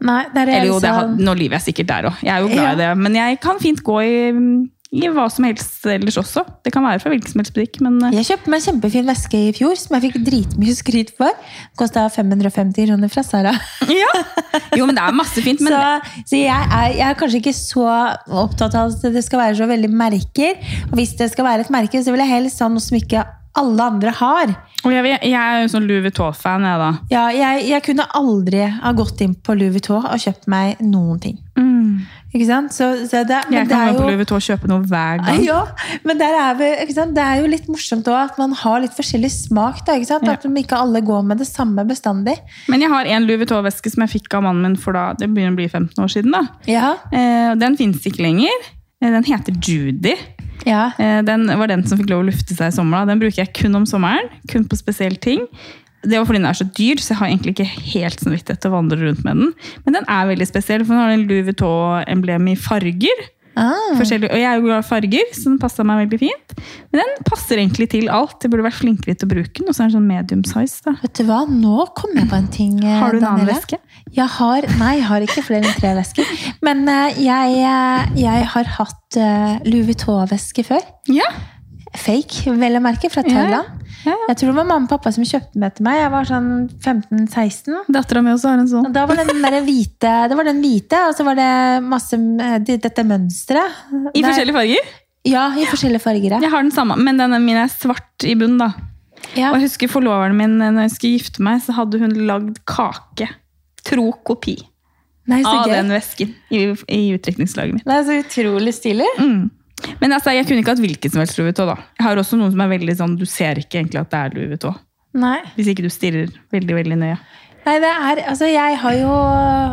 Speaker 1: Nei, det er
Speaker 2: Eller jo, det har,
Speaker 1: liksom-
Speaker 2: nå lyver jeg sikkert der òg. Jeg er jo glad
Speaker 1: Ja.
Speaker 2: i det. Men jeg kan fint gå i, mm, i hva som helst ellers også. Det kan være fra hvilken som helst butikk. Men eh,
Speaker 1: Jeg kjøpte meg en kjempefin veske i fjor som jeg fikk dritmye skryt for. Kosta 550 kroner fra Sara.
Speaker 2: ja. Jo, men det er masse fint. Men
Speaker 1: så så jeg, er, jeg er kanskje ikke så opptatt av at det skal være så veldig merker. Og hvis det skal være et merke, så vil jeg helst ha noe som ikke alle andre har.
Speaker 2: og jeg, jeg er jo sånn Louis Vuitton-fan, jeg, da.
Speaker 1: Ja, jeg, jeg kunne aldri ha gått inn på Louis Vuitton og kjøpt meg noen ting. Ikke sant? Så, så det, men
Speaker 2: Jeg
Speaker 1: det
Speaker 2: kan
Speaker 1: er
Speaker 2: gå på
Speaker 1: jo
Speaker 2: Louis Vuitton og kjøpe noe hver gang.
Speaker 1: Ja, men der er vi, ikke sant? det er jo litt morsomt også, at man har litt forskjellig smak. Da, ikke sant?
Speaker 2: Ja.
Speaker 1: At de ikke alle går med det samme bestandig.
Speaker 2: Men jeg har en Louis Vuitton-veske som jeg fikk av mannen min for da, det begynner å bli 15 år siden. da.
Speaker 1: Ja,
Speaker 2: Eh, og den finnes ikke lenger. Eh, Den heter Judy.
Speaker 1: ja.
Speaker 2: Eh, den var den som fikk lov å lufte seg i sommer. da. Den bruker jeg kun om sommeren, kun på spesielle ting. Det var fordi den er så dyr, så jeg har egentlig ikke helt samvittighet til å vandre rundt med den. Men den er veldig spesiell, for den har en Louis Vuitton-emblem i farger.
Speaker 1: Ah,
Speaker 2: Forskjellige- Og jeg er jo glad i farger, så den passa meg veldig fint. Men den passer egentlig til alt. Jeg burde vært flinkere til å bruke den. Og så er den sånn medium size. da.
Speaker 1: vet du hva? Nå kom jeg på en ting. eh,
Speaker 2: Har du en annen
Speaker 1: Daniela.
Speaker 2: veske?
Speaker 1: Jeg har, nei, jeg har ikke flere enn tre vesker. Men eh, jeg, eh, jeg har hatt eh, Louis Vuitton-veske før.
Speaker 2: Ja,
Speaker 1: Fake, vel å merke, fra Thailand.
Speaker 2: ja, ja.
Speaker 1: Jeg tror det var mamma og pappa som kjøpte den til meg. Jeg var sånn 15-16.
Speaker 2: Dattera mi også har en sånn.
Speaker 1: Og Da var den der hvite, det var den hvite, og så var det masse eh, de- dette mønsteret.
Speaker 2: I
Speaker 1: Nei,
Speaker 2: forskjellige farger?
Speaker 1: Ja, i forskjellige farger. ja.
Speaker 2: Jeg har den samme, men den min er svart i bunnen, da.
Speaker 1: Ja.
Speaker 2: Og jeg husker forloveren min, eh, når jeg skulle gifte meg, så hadde hun lagd kake. Tro kopi
Speaker 1: Nei, så
Speaker 2: av den
Speaker 1: gøy.
Speaker 2: vesken i, i utdrikningslaget mitt.
Speaker 1: Det er så utrolig stilig.
Speaker 2: Men altså, jeg kunne ikke hatt hvilken som helst Louis Vuitton, da. Jeg har også noen som er veldig sånn, du ser ikke egentlig at det er Louis Vuitton.
Speaker 1: Nei.
Speaker 2: Hvis ikke du stirrer veldig, veldig nøye.
Speaker 1: Nei, det er, altså jeg har jo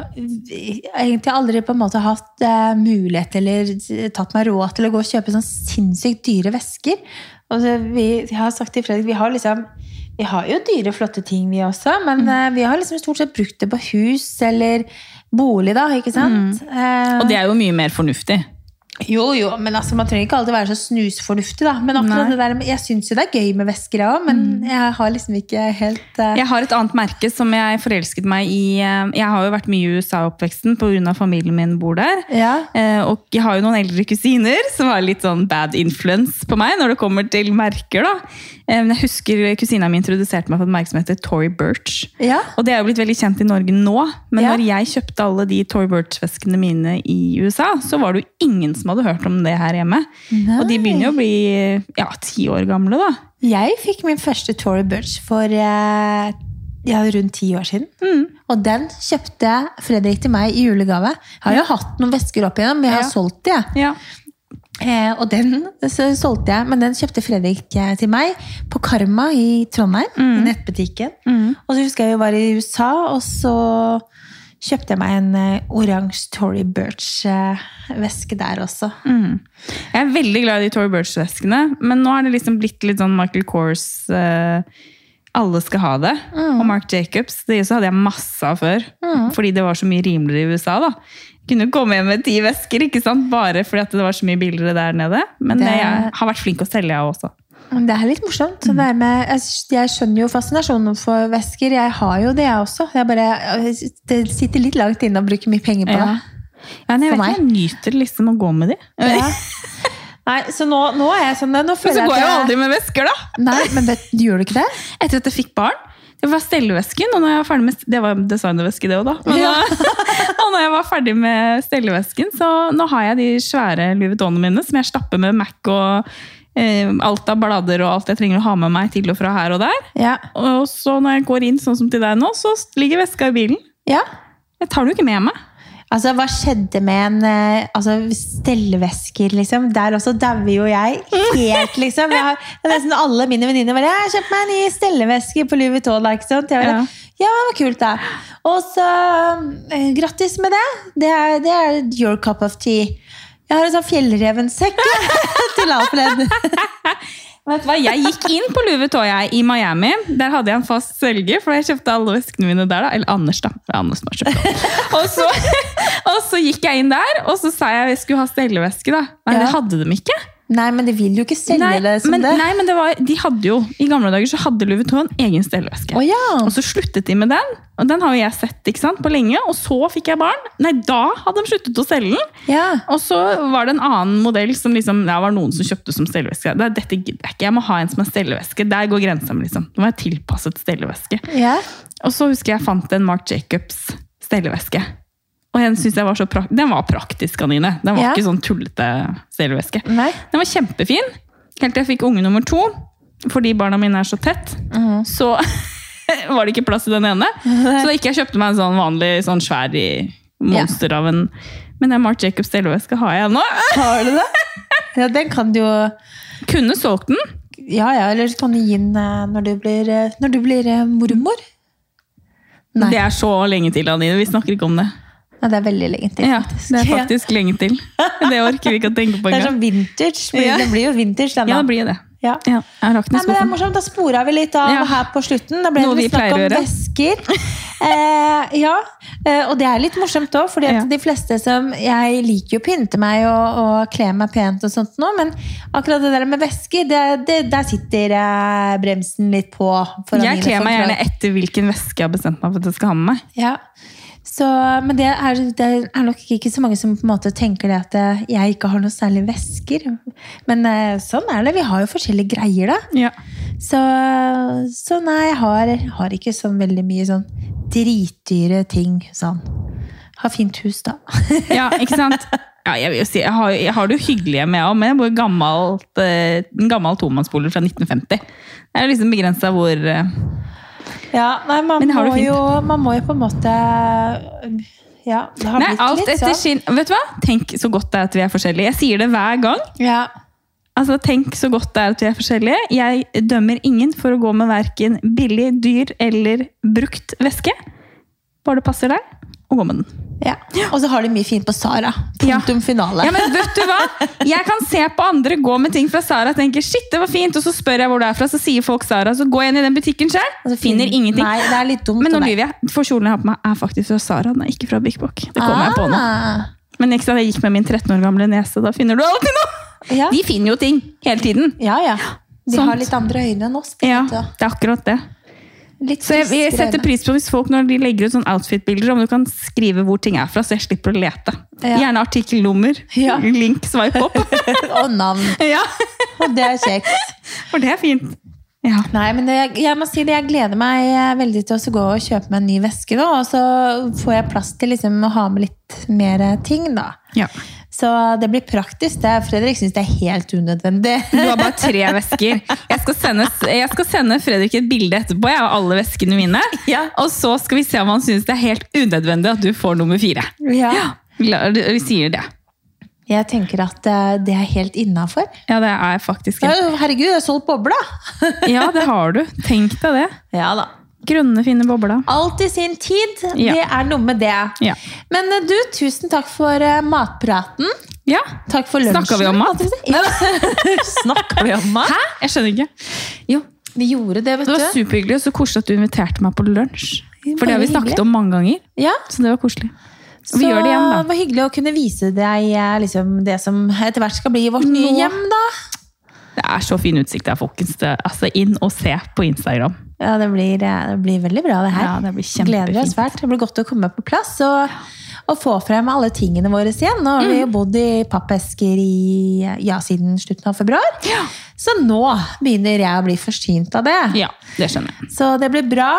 Speaker 1: eh, egentlig aldri på en måte hatt eh, mulighet eller eh, tatt meg råd til å gå og kjøpe sånn sinnssykt dyre vesker. Og så vi, jeg har sagt til Fredrik, vi har liksom vi har jo dyre, flotte ting vi også, men eh, vi har liksom stort sett brukt det på hus eller bolig da, ikke sant? Eh,
Speaker 2: Og det er jo mye mer fornuftig.
Speaker 1: Jo, jo, men altså, man trenger ikke alltid være så snusfornuftig, da. Men akkurat
Speaker 2: Nei.
Speaker 1: det der, med- jeg syns jo det er gøy med væsker, jeg òg, men jeg har liksom ikke helt eh,
Speaker 2: Jeg har et annet merke som jeg forelsket meg i. eh, Jeg har jo vært mye i USA i oppveksten pga. familien min bor der.
Speaker 1: ja.
Speaker 2: Eh, Og jeg har jo noen eldre kusiner som har litt sånn bad influence på meg når det kommer til merker. da. Eh, Men jeg husker kusina mi introduserte meg for et merke som heter Tory Birch.
Speaker 1: Ja.
Speaker 2: Og det er jo blitt veldig kjent i Norge nå, men
Speaker 1: Ja.
Speaker 2: når jeg kjøpte alle de Tory Birch-veskene mine i USA, så var det jo ingen som hadde hørt om det her hjemme. Og de begynner jo å bli ja, ti år gamle, da.
Speaker 1: Jeg fikk min første Tory Burch for eh, ja, rundt ti år siden. Og den kjøpte Fredrik til meg i julegave. Jeg har jo hatt noen vesker opp igjennom, men jeg har
Speaker 2: Ja.
Speaker 1: solgt de. jeg.
Speaker 2: Ja.
Speaker 1: Eh, og den så solgte jeg, men den kjøpte Fredrik eh, til meg på Karma i Trondheim. I nettbutikken. Og så husker jeg vi var i USA, og så kjøpte jeg meg en eh, oransje Tory Burch-veske der også.
Speaker 2: Jeg er veldig glad i de Tory Burch-veskene, men nå er det liksom blitt litt sånn Michael Kors eh, Alle skal ha det.
Speaker 1: Mm.
Speaker 2: Og Marc Jacobs. Det så hadde jeg masse av før, fordi det var så mye rimeligere i USA. da. Jeg kunne jo komme hjem med ti vesker, ikke sant? bare fordi at det var så mye billigere der nede. Men
Speaker 1: Det-
Speaker 2: jeg har vært flink å selge, jeg også.
Speaker 1: Men Det er litt morsomt. så det er med, jeg, jeg skjønner jo fascinasjonen for væsker. Jeg har jo det, jeg også. Jeg bare, jeg- det sitter litt langt inne å bruke mye penger på det.
Speaker 2: Ja. Ja, men jeg,
Speaker 1: For
Speaker 2: vet, ikke, jeg nyter liksom å gå med de.
Speaker 1: Ja. Nei, så nå, nå er jeg sånn Nå
Speaker 2: Men
Speaker 1: føler
Speaker 2: så
Speaker 1: jeg
Speaker 2: går jeg jo
Speaker 1: at
Speaker 2: aldri med vesker, da!
Speaker 1: Nei, men vet, gjør du ikke det?
Speaker 2: Etter at jeg fikk barn. Det var stellevesken, og når jeg var ferdig med Det var designerveske, det òg, da. Men,
Speaker 1: Ja.
Speaker 2: og når jeg var ferdig med stellevesken, så nå har jeg de svære Louis Vuittonene mine som jeg stapper med Mac og eh, alt av blader og alt jeg trenger å ha med meg til og fra her og der.
Speaker 1: Ja.
Speaker 2: Og så når jeg går inn sånn som til deg nå, så ligger veska i bilen.
Speaker 1: ja.
Speaker 2: Jeg tar den jo ikke med meg.
Speaker 1: Altså, hva skjedde med en eh, altså, stellevesker, liksom? Der også dauer jo jeg helt, liksom. Jeg har, nesten alle mine venninner bare 'Jeg har kjøpt meg en ny stelleveske på Louis Vuitton'. da, Ikke sant? Jeg bare,
Speaker 2: Ja.
Speaker 1: ja, det var kult, da. Og så eh, Grattis med det. Det er, det er your cup of tea. Jeg har en sånn fjellrevensekk jeg, til Alfred.
Speaker 2: Vet du hva, Jeg gikk inn på Louis Vuitton jeg, i Miami. Der hadde jeg en fast selger, for jeg kjøpte alle veskene mine der. da. Eller Anders, da. Det er Anders som har kjøpt dem. Og så, og så gikk jeg inn der, og så sa jeg jeg skulle ha stelleveske. da. Nei,
Speaker 1: Ja.
Speaker 2: det hadde de ikke.
Speaker 1: Nei, men det vil jo ikke selge
Speaker 2: Nei,
Speaker 1: det som
Speaker 2: men,
Speaker 1: det.
Speaker 2: nei, men det var, de hadde jo, I gamle dager så hadde Louis Vuitton en egen stelleveske.
Speaker 1: Å ja.
Speaker 2: Og så sluttet de med den, og den har jo jeg sett ikke sant, på lenge. Og så fikk jeg barn. Nei, da hadde de sluttet å selge den.
Speaker 1: ja.
Speaker 2: Og så var det en annen modell som liksom, det var noen som kjøpte som stelleveske. Det, er- dette gidder jeg ikke. Jeg må ha en som er stelleveske. Der går grensa mi. Liksom. Det var en tilpasset stelleveske.
Speaker 1: ja.
Speaker 2: Og så husker jeg jeg fant en Marc Jacobs stelleveske. Og den synes jeg var så prak Den var praktisk, Anine. Den var
Speaker 1: Ja.
Speaker 2: ikke sånn tullete stelleveske.
Speaker 1: Nei.
Speaker 2: Den var kjempefin. Helt til jeg fikk unge nummer to, fordi barna mine er så tett,
Speaker 1: Mhm.
Speaker 2: så var det ikke plass i den ene. Så da gikk jeg og kjøpte meg en sånn vanlig sånn svær i- monster av en Men den Marc Jacobs stelleveske har jeg ennå.
Speaker 1: Har du det? Ja, den kan du jo
Speaker 2: Kunne solgt den.
Speaker 1: Ja, ja, eller så kan du gi den eh, når du blir, eh, når du blir eh, mormor. Nei.
Speaker 2: Det er så lenge til, Anine. Vi snakker ikke om det.
Speaker 1: Ja, det er veldig lenge til.
Speaker 2: Ja, det er
Speaker 1: Ja.
Speaker 2: faktisk lenge til. Det orker vi ikke å tenke på
Speaker 1: Det er
Speaker 2: engang.
Speaker 1: sånn vintage. blir-
Speaker 2: Ja.
Speaker 1: Det blir jo vintage, denne.
Speaker 2: Ja, det blir det.
Speaker 1: Ja.
Speaker 2: Ja, jeg rakk den
Speaker 1: Nei, men det
Speaker 2: i
Speaker 1: er
Speaker 2: skuffen.
Speaker 1: morsomt, Da spora vi litt av
Speaker 2: Ja.
Speaker 1: her på slutten. Da ble
Speaker 2: Noe
Speaker 1: det
Speaker 2: vi
Speaker 1: snakk om
Speaker 2: pleier å gjøre.
Speaker 1: vesker. Eh, ja, eh, Og det er litt morsomt òg, for
Speaker 2: Ja.
Speaker 1: de fleste som Jeg liker jo å pynte meg og, og kle meg pent, og sånt nå, men akkurat det der med vesker, det, det, der sitter eh, bremsen litt på. for
Speaker 2: Jeg
Speaker 1: Anine,
Speaker 2: kler meg
Speaker 1: sånn, tror
Speaker 2: gjerne etter hvilken veske jeg har bestemt meg for at jeg skal ha med meg.
Speaker 1: Ja. Så, men det er, det er nok ikke så mange som på en måte tenker det at eh, jeg ikke har noe særlig vesker. Men eh, sånn er det. Vi har jo forskjellige greier, da.
Speaker 2: Ja.
Speaker 1: Så, så nei, jeg har, har ikke sånn veldig mye sånn dritdyre ting sånn. Har fint hus, da.
Speaker 2: Ja, ikke sant? Ja, jeg vil jo si, jeg har, jeg har det jo hyggelig hjemme, jeg òg, men jeg bor i gammelt, eh, en gammel tomannsbolig fra 1950. Det er jo liksom begrensa hvor eh,
Speaker 1: Ja, nei, man,
Speaker 2: Men jeg har det
Speaker 1: må
Speaker 2: fint.
Speaker 1: jo, man må jo på en måte Ja, det har
Speaker 2: Nei,
Speaker 1: blitt
Speaker 2: alt
Speaker 1: litt
Speaker 2: etter
Speaker 1: sånn.
Speaker 2: sin Vet du hva? Tenk så godt det er at vi er forskjellige. Jeg sier det hver gang.
Speaker 1: Ja.
Speaker 2: Altså, Tenk så godt det er at vi er forskjellige. Jeg dømmer ingen for å gå med verken billig, dyr eller brukt væske. Bare det passer deg, og gå med den.
Speaker 1: ja. Og så har de mye fint på Sara.
Speaker 2: Ja.
Speaker 1: Punktum finale.
Speaker 2: Ja, men vet du hva? Jeg kan se på andre gå med ting fra Sara og tenke shit, det var fint, og så spør jeg hvor det er fra, så sier folk Sara, så går jeg inn i den butikken selv,
Speaker 1: Altså, fin-
Speaker 2: finner ingenting.
Speaker 1: Nei, det er litt dumt.
Speaker 2: Men
Speaker 1: av
Speaker 2: nå
Speaker 1: meg.
Speaker 2: lyver jeg, for kjolen jeg har på meg er faktisk fra Sara, den er ikke fra Big Book. Det kommer jeg på nå.
Speaker 1: Ah,
Speaker 2: Men ikke sant, jeg gikk med min 13 år gamle nese. Da finner du alltid noe!
Speaker 1: Ja,
Speaker 2: De finner jo ting hele tiden.
Speaker 1: ja. ja. De
Speaker 2: Sant.
Speaker 1: har litt andre øyne enn oss. på en
Speaker 2: Ja,
Speaker 1: måte.
Speaker 2: det er akkurat det.
Speaker 1: Litt
Speaker 2: Så jeg, jeg
Speaker 1: friskere
Speaker 2: setter
Speaker 1: øyne.
Speaker 2: pris på hvis folk når de legger ut sånne outfit-bilder, om du kan skrive hvor ting er fra, så jeg slipper å lete.
Speaker 1: Ja.
Speaker 2: Gjerne artikkelnummer.
Speaker 1: Ja.
Speaker 2: Link, swipe opp.
Speaker 1: Og navn.
Speaker 2: ja,
Speaker 1: Og det er kjekt.
Speaker 2: for det er fint. Ja.
Speaker 1: Nei, men det, jeg må si det, jeg gleder meg eh, veldig til å gå og kjøpe meg en ny veske da, og så får jeg plass til liksom, å ha med litt mer ting da.
Speaker 2: ja.
Speaker 1: Så det blir praktisk det. Fredrik synes det er helt unødvendig.
Speaker 2: Du har bare tre vesker. Jeg skal sende, jeg skal sende Fredrik et bilde etterpå jeg har alle veskene mine.
Speaker 1: Ja.
Speaker 2: Og så skal vi se om han syns det er helt unødvendig at du får nummer fire.
Speaker 1: Ja.
Speaker 2: Vi la- vi sier det.
Speaker 1: Jeg tenker at eh, det er helt innenfor.
Speaker 2: Ja, det er faktisk
Speaker 1: Ja,
Speaker 2: en.
Speaker 1: Herregud, jeg har solgt bobla!
Speaker 2: Ja, det har du. Tenk deg det.
Speaker 1: Ja da.
Speaker 2: Grønne, fine bobler.
Speaker 1: Alt i sin tid.
Speaker 2: Ja.
Speaker 1: Det er noe med det.
Speaker 2: Ja.
Speaker 1: Men eh, du, tusen takk for eh, matpraten.
Speaker 2: ja.
Speaker 1: Takk for lunsjen.
Speaker 2: Snakka vi om mat?
Speaker 1: Ja. Snakka vi om mat?
Speaker 2: Hæ? Jeg skjønner ikke. Jo,
Speaker 1: Vi gjorde det, vet
Speaker 2: Det var
Speaker 1: du.
Speaker 2: superhyggelig og så koselig at du inviterte meg på lunsj. For det har vi snakket om mange ganger.
Speaker 1: Ja,
Speaker 2: Så det var koselig. Og
Speaker 1: Så
Speaker 2: vi gjør det igjen,
Speaker 1: det
Speaker 2: da.
Speaker 1: var hyggelig å kunne vise deg eh, liksom, det som etter hvert skal bli vårt nye
Speaker 2: Nå.
Speaker 1: hjem. da.
Speaker 2: Det er så fin utsikt der, folkens. Det, altså, inn og se på Instagram.
Speaker 1: Ja, det blir, eh, det blir veldig bra, det her.
Speaker 2: Ja, det blir
Speaker 1: Gleder oss
Speaker 2: kjempefint.
Speaker 1: svært. Det blir godt å komme på plass og, og få frem alle tingene våre igjen. Nå har vi
Speaker 2: Mm.
Speaker 1: jo bodd i pappesker i, ja, siden slutten av februar, så nå begynner jeg å bli forsynt av det.
Speaker 2: Ja, det skjønner jeg.
Speaker 1: Så det blir bra.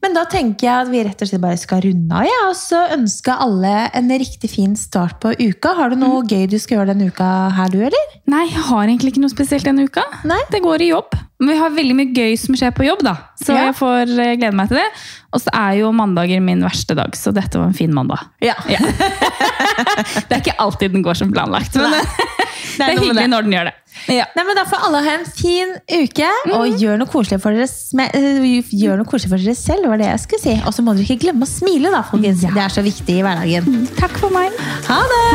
Speaker 1: Men da tenker jeg at vi rett og slett bare skal runde av, ja, og så ønske alle en riktig fin start på uka. Har du
Speaker 2: Mm.
Speaker 1: noe gøy du skal gjøre denne uka her, du, eller?
Speaker 2: Nei, jeg har egentlig ikke noe spesielt denne uka.
Speaker 1: Nei.
Speaker 2: Det går i jobb. Men vi har veldig mye gøy som skjer på jobb, da. Så
Speaker 1: Ja.
Speaker 2: jeg får eh, glede meg til det. Og så er jo mandager min verste dag, så dette var en fin mandag.
Speaker 1: Ja.
Speaker 2: Ja. det er ikke alltid den går som planlagt, men
Speaker 1: Nei. noe
Speaker 2: eh, det er
Speaker 1: med
Speaker 2: hyggelig
Speaker 1: det.
Speaker 2: når den gjør det. Ja.
Speaker 1: Nei, men Da får alle ha en fin uke, og gjør noe koselig for dere, sme- eh, gjør noe koselig for dere selv. var det
Speaker 2: Mhm.
Speaker 1: jeg skulle si. Og så må dere ikke glemme å smile, da, folkens. Det er så viktig i hverdagen.
Speaker 2: Takk for meg.
Speaker 1: Ha det!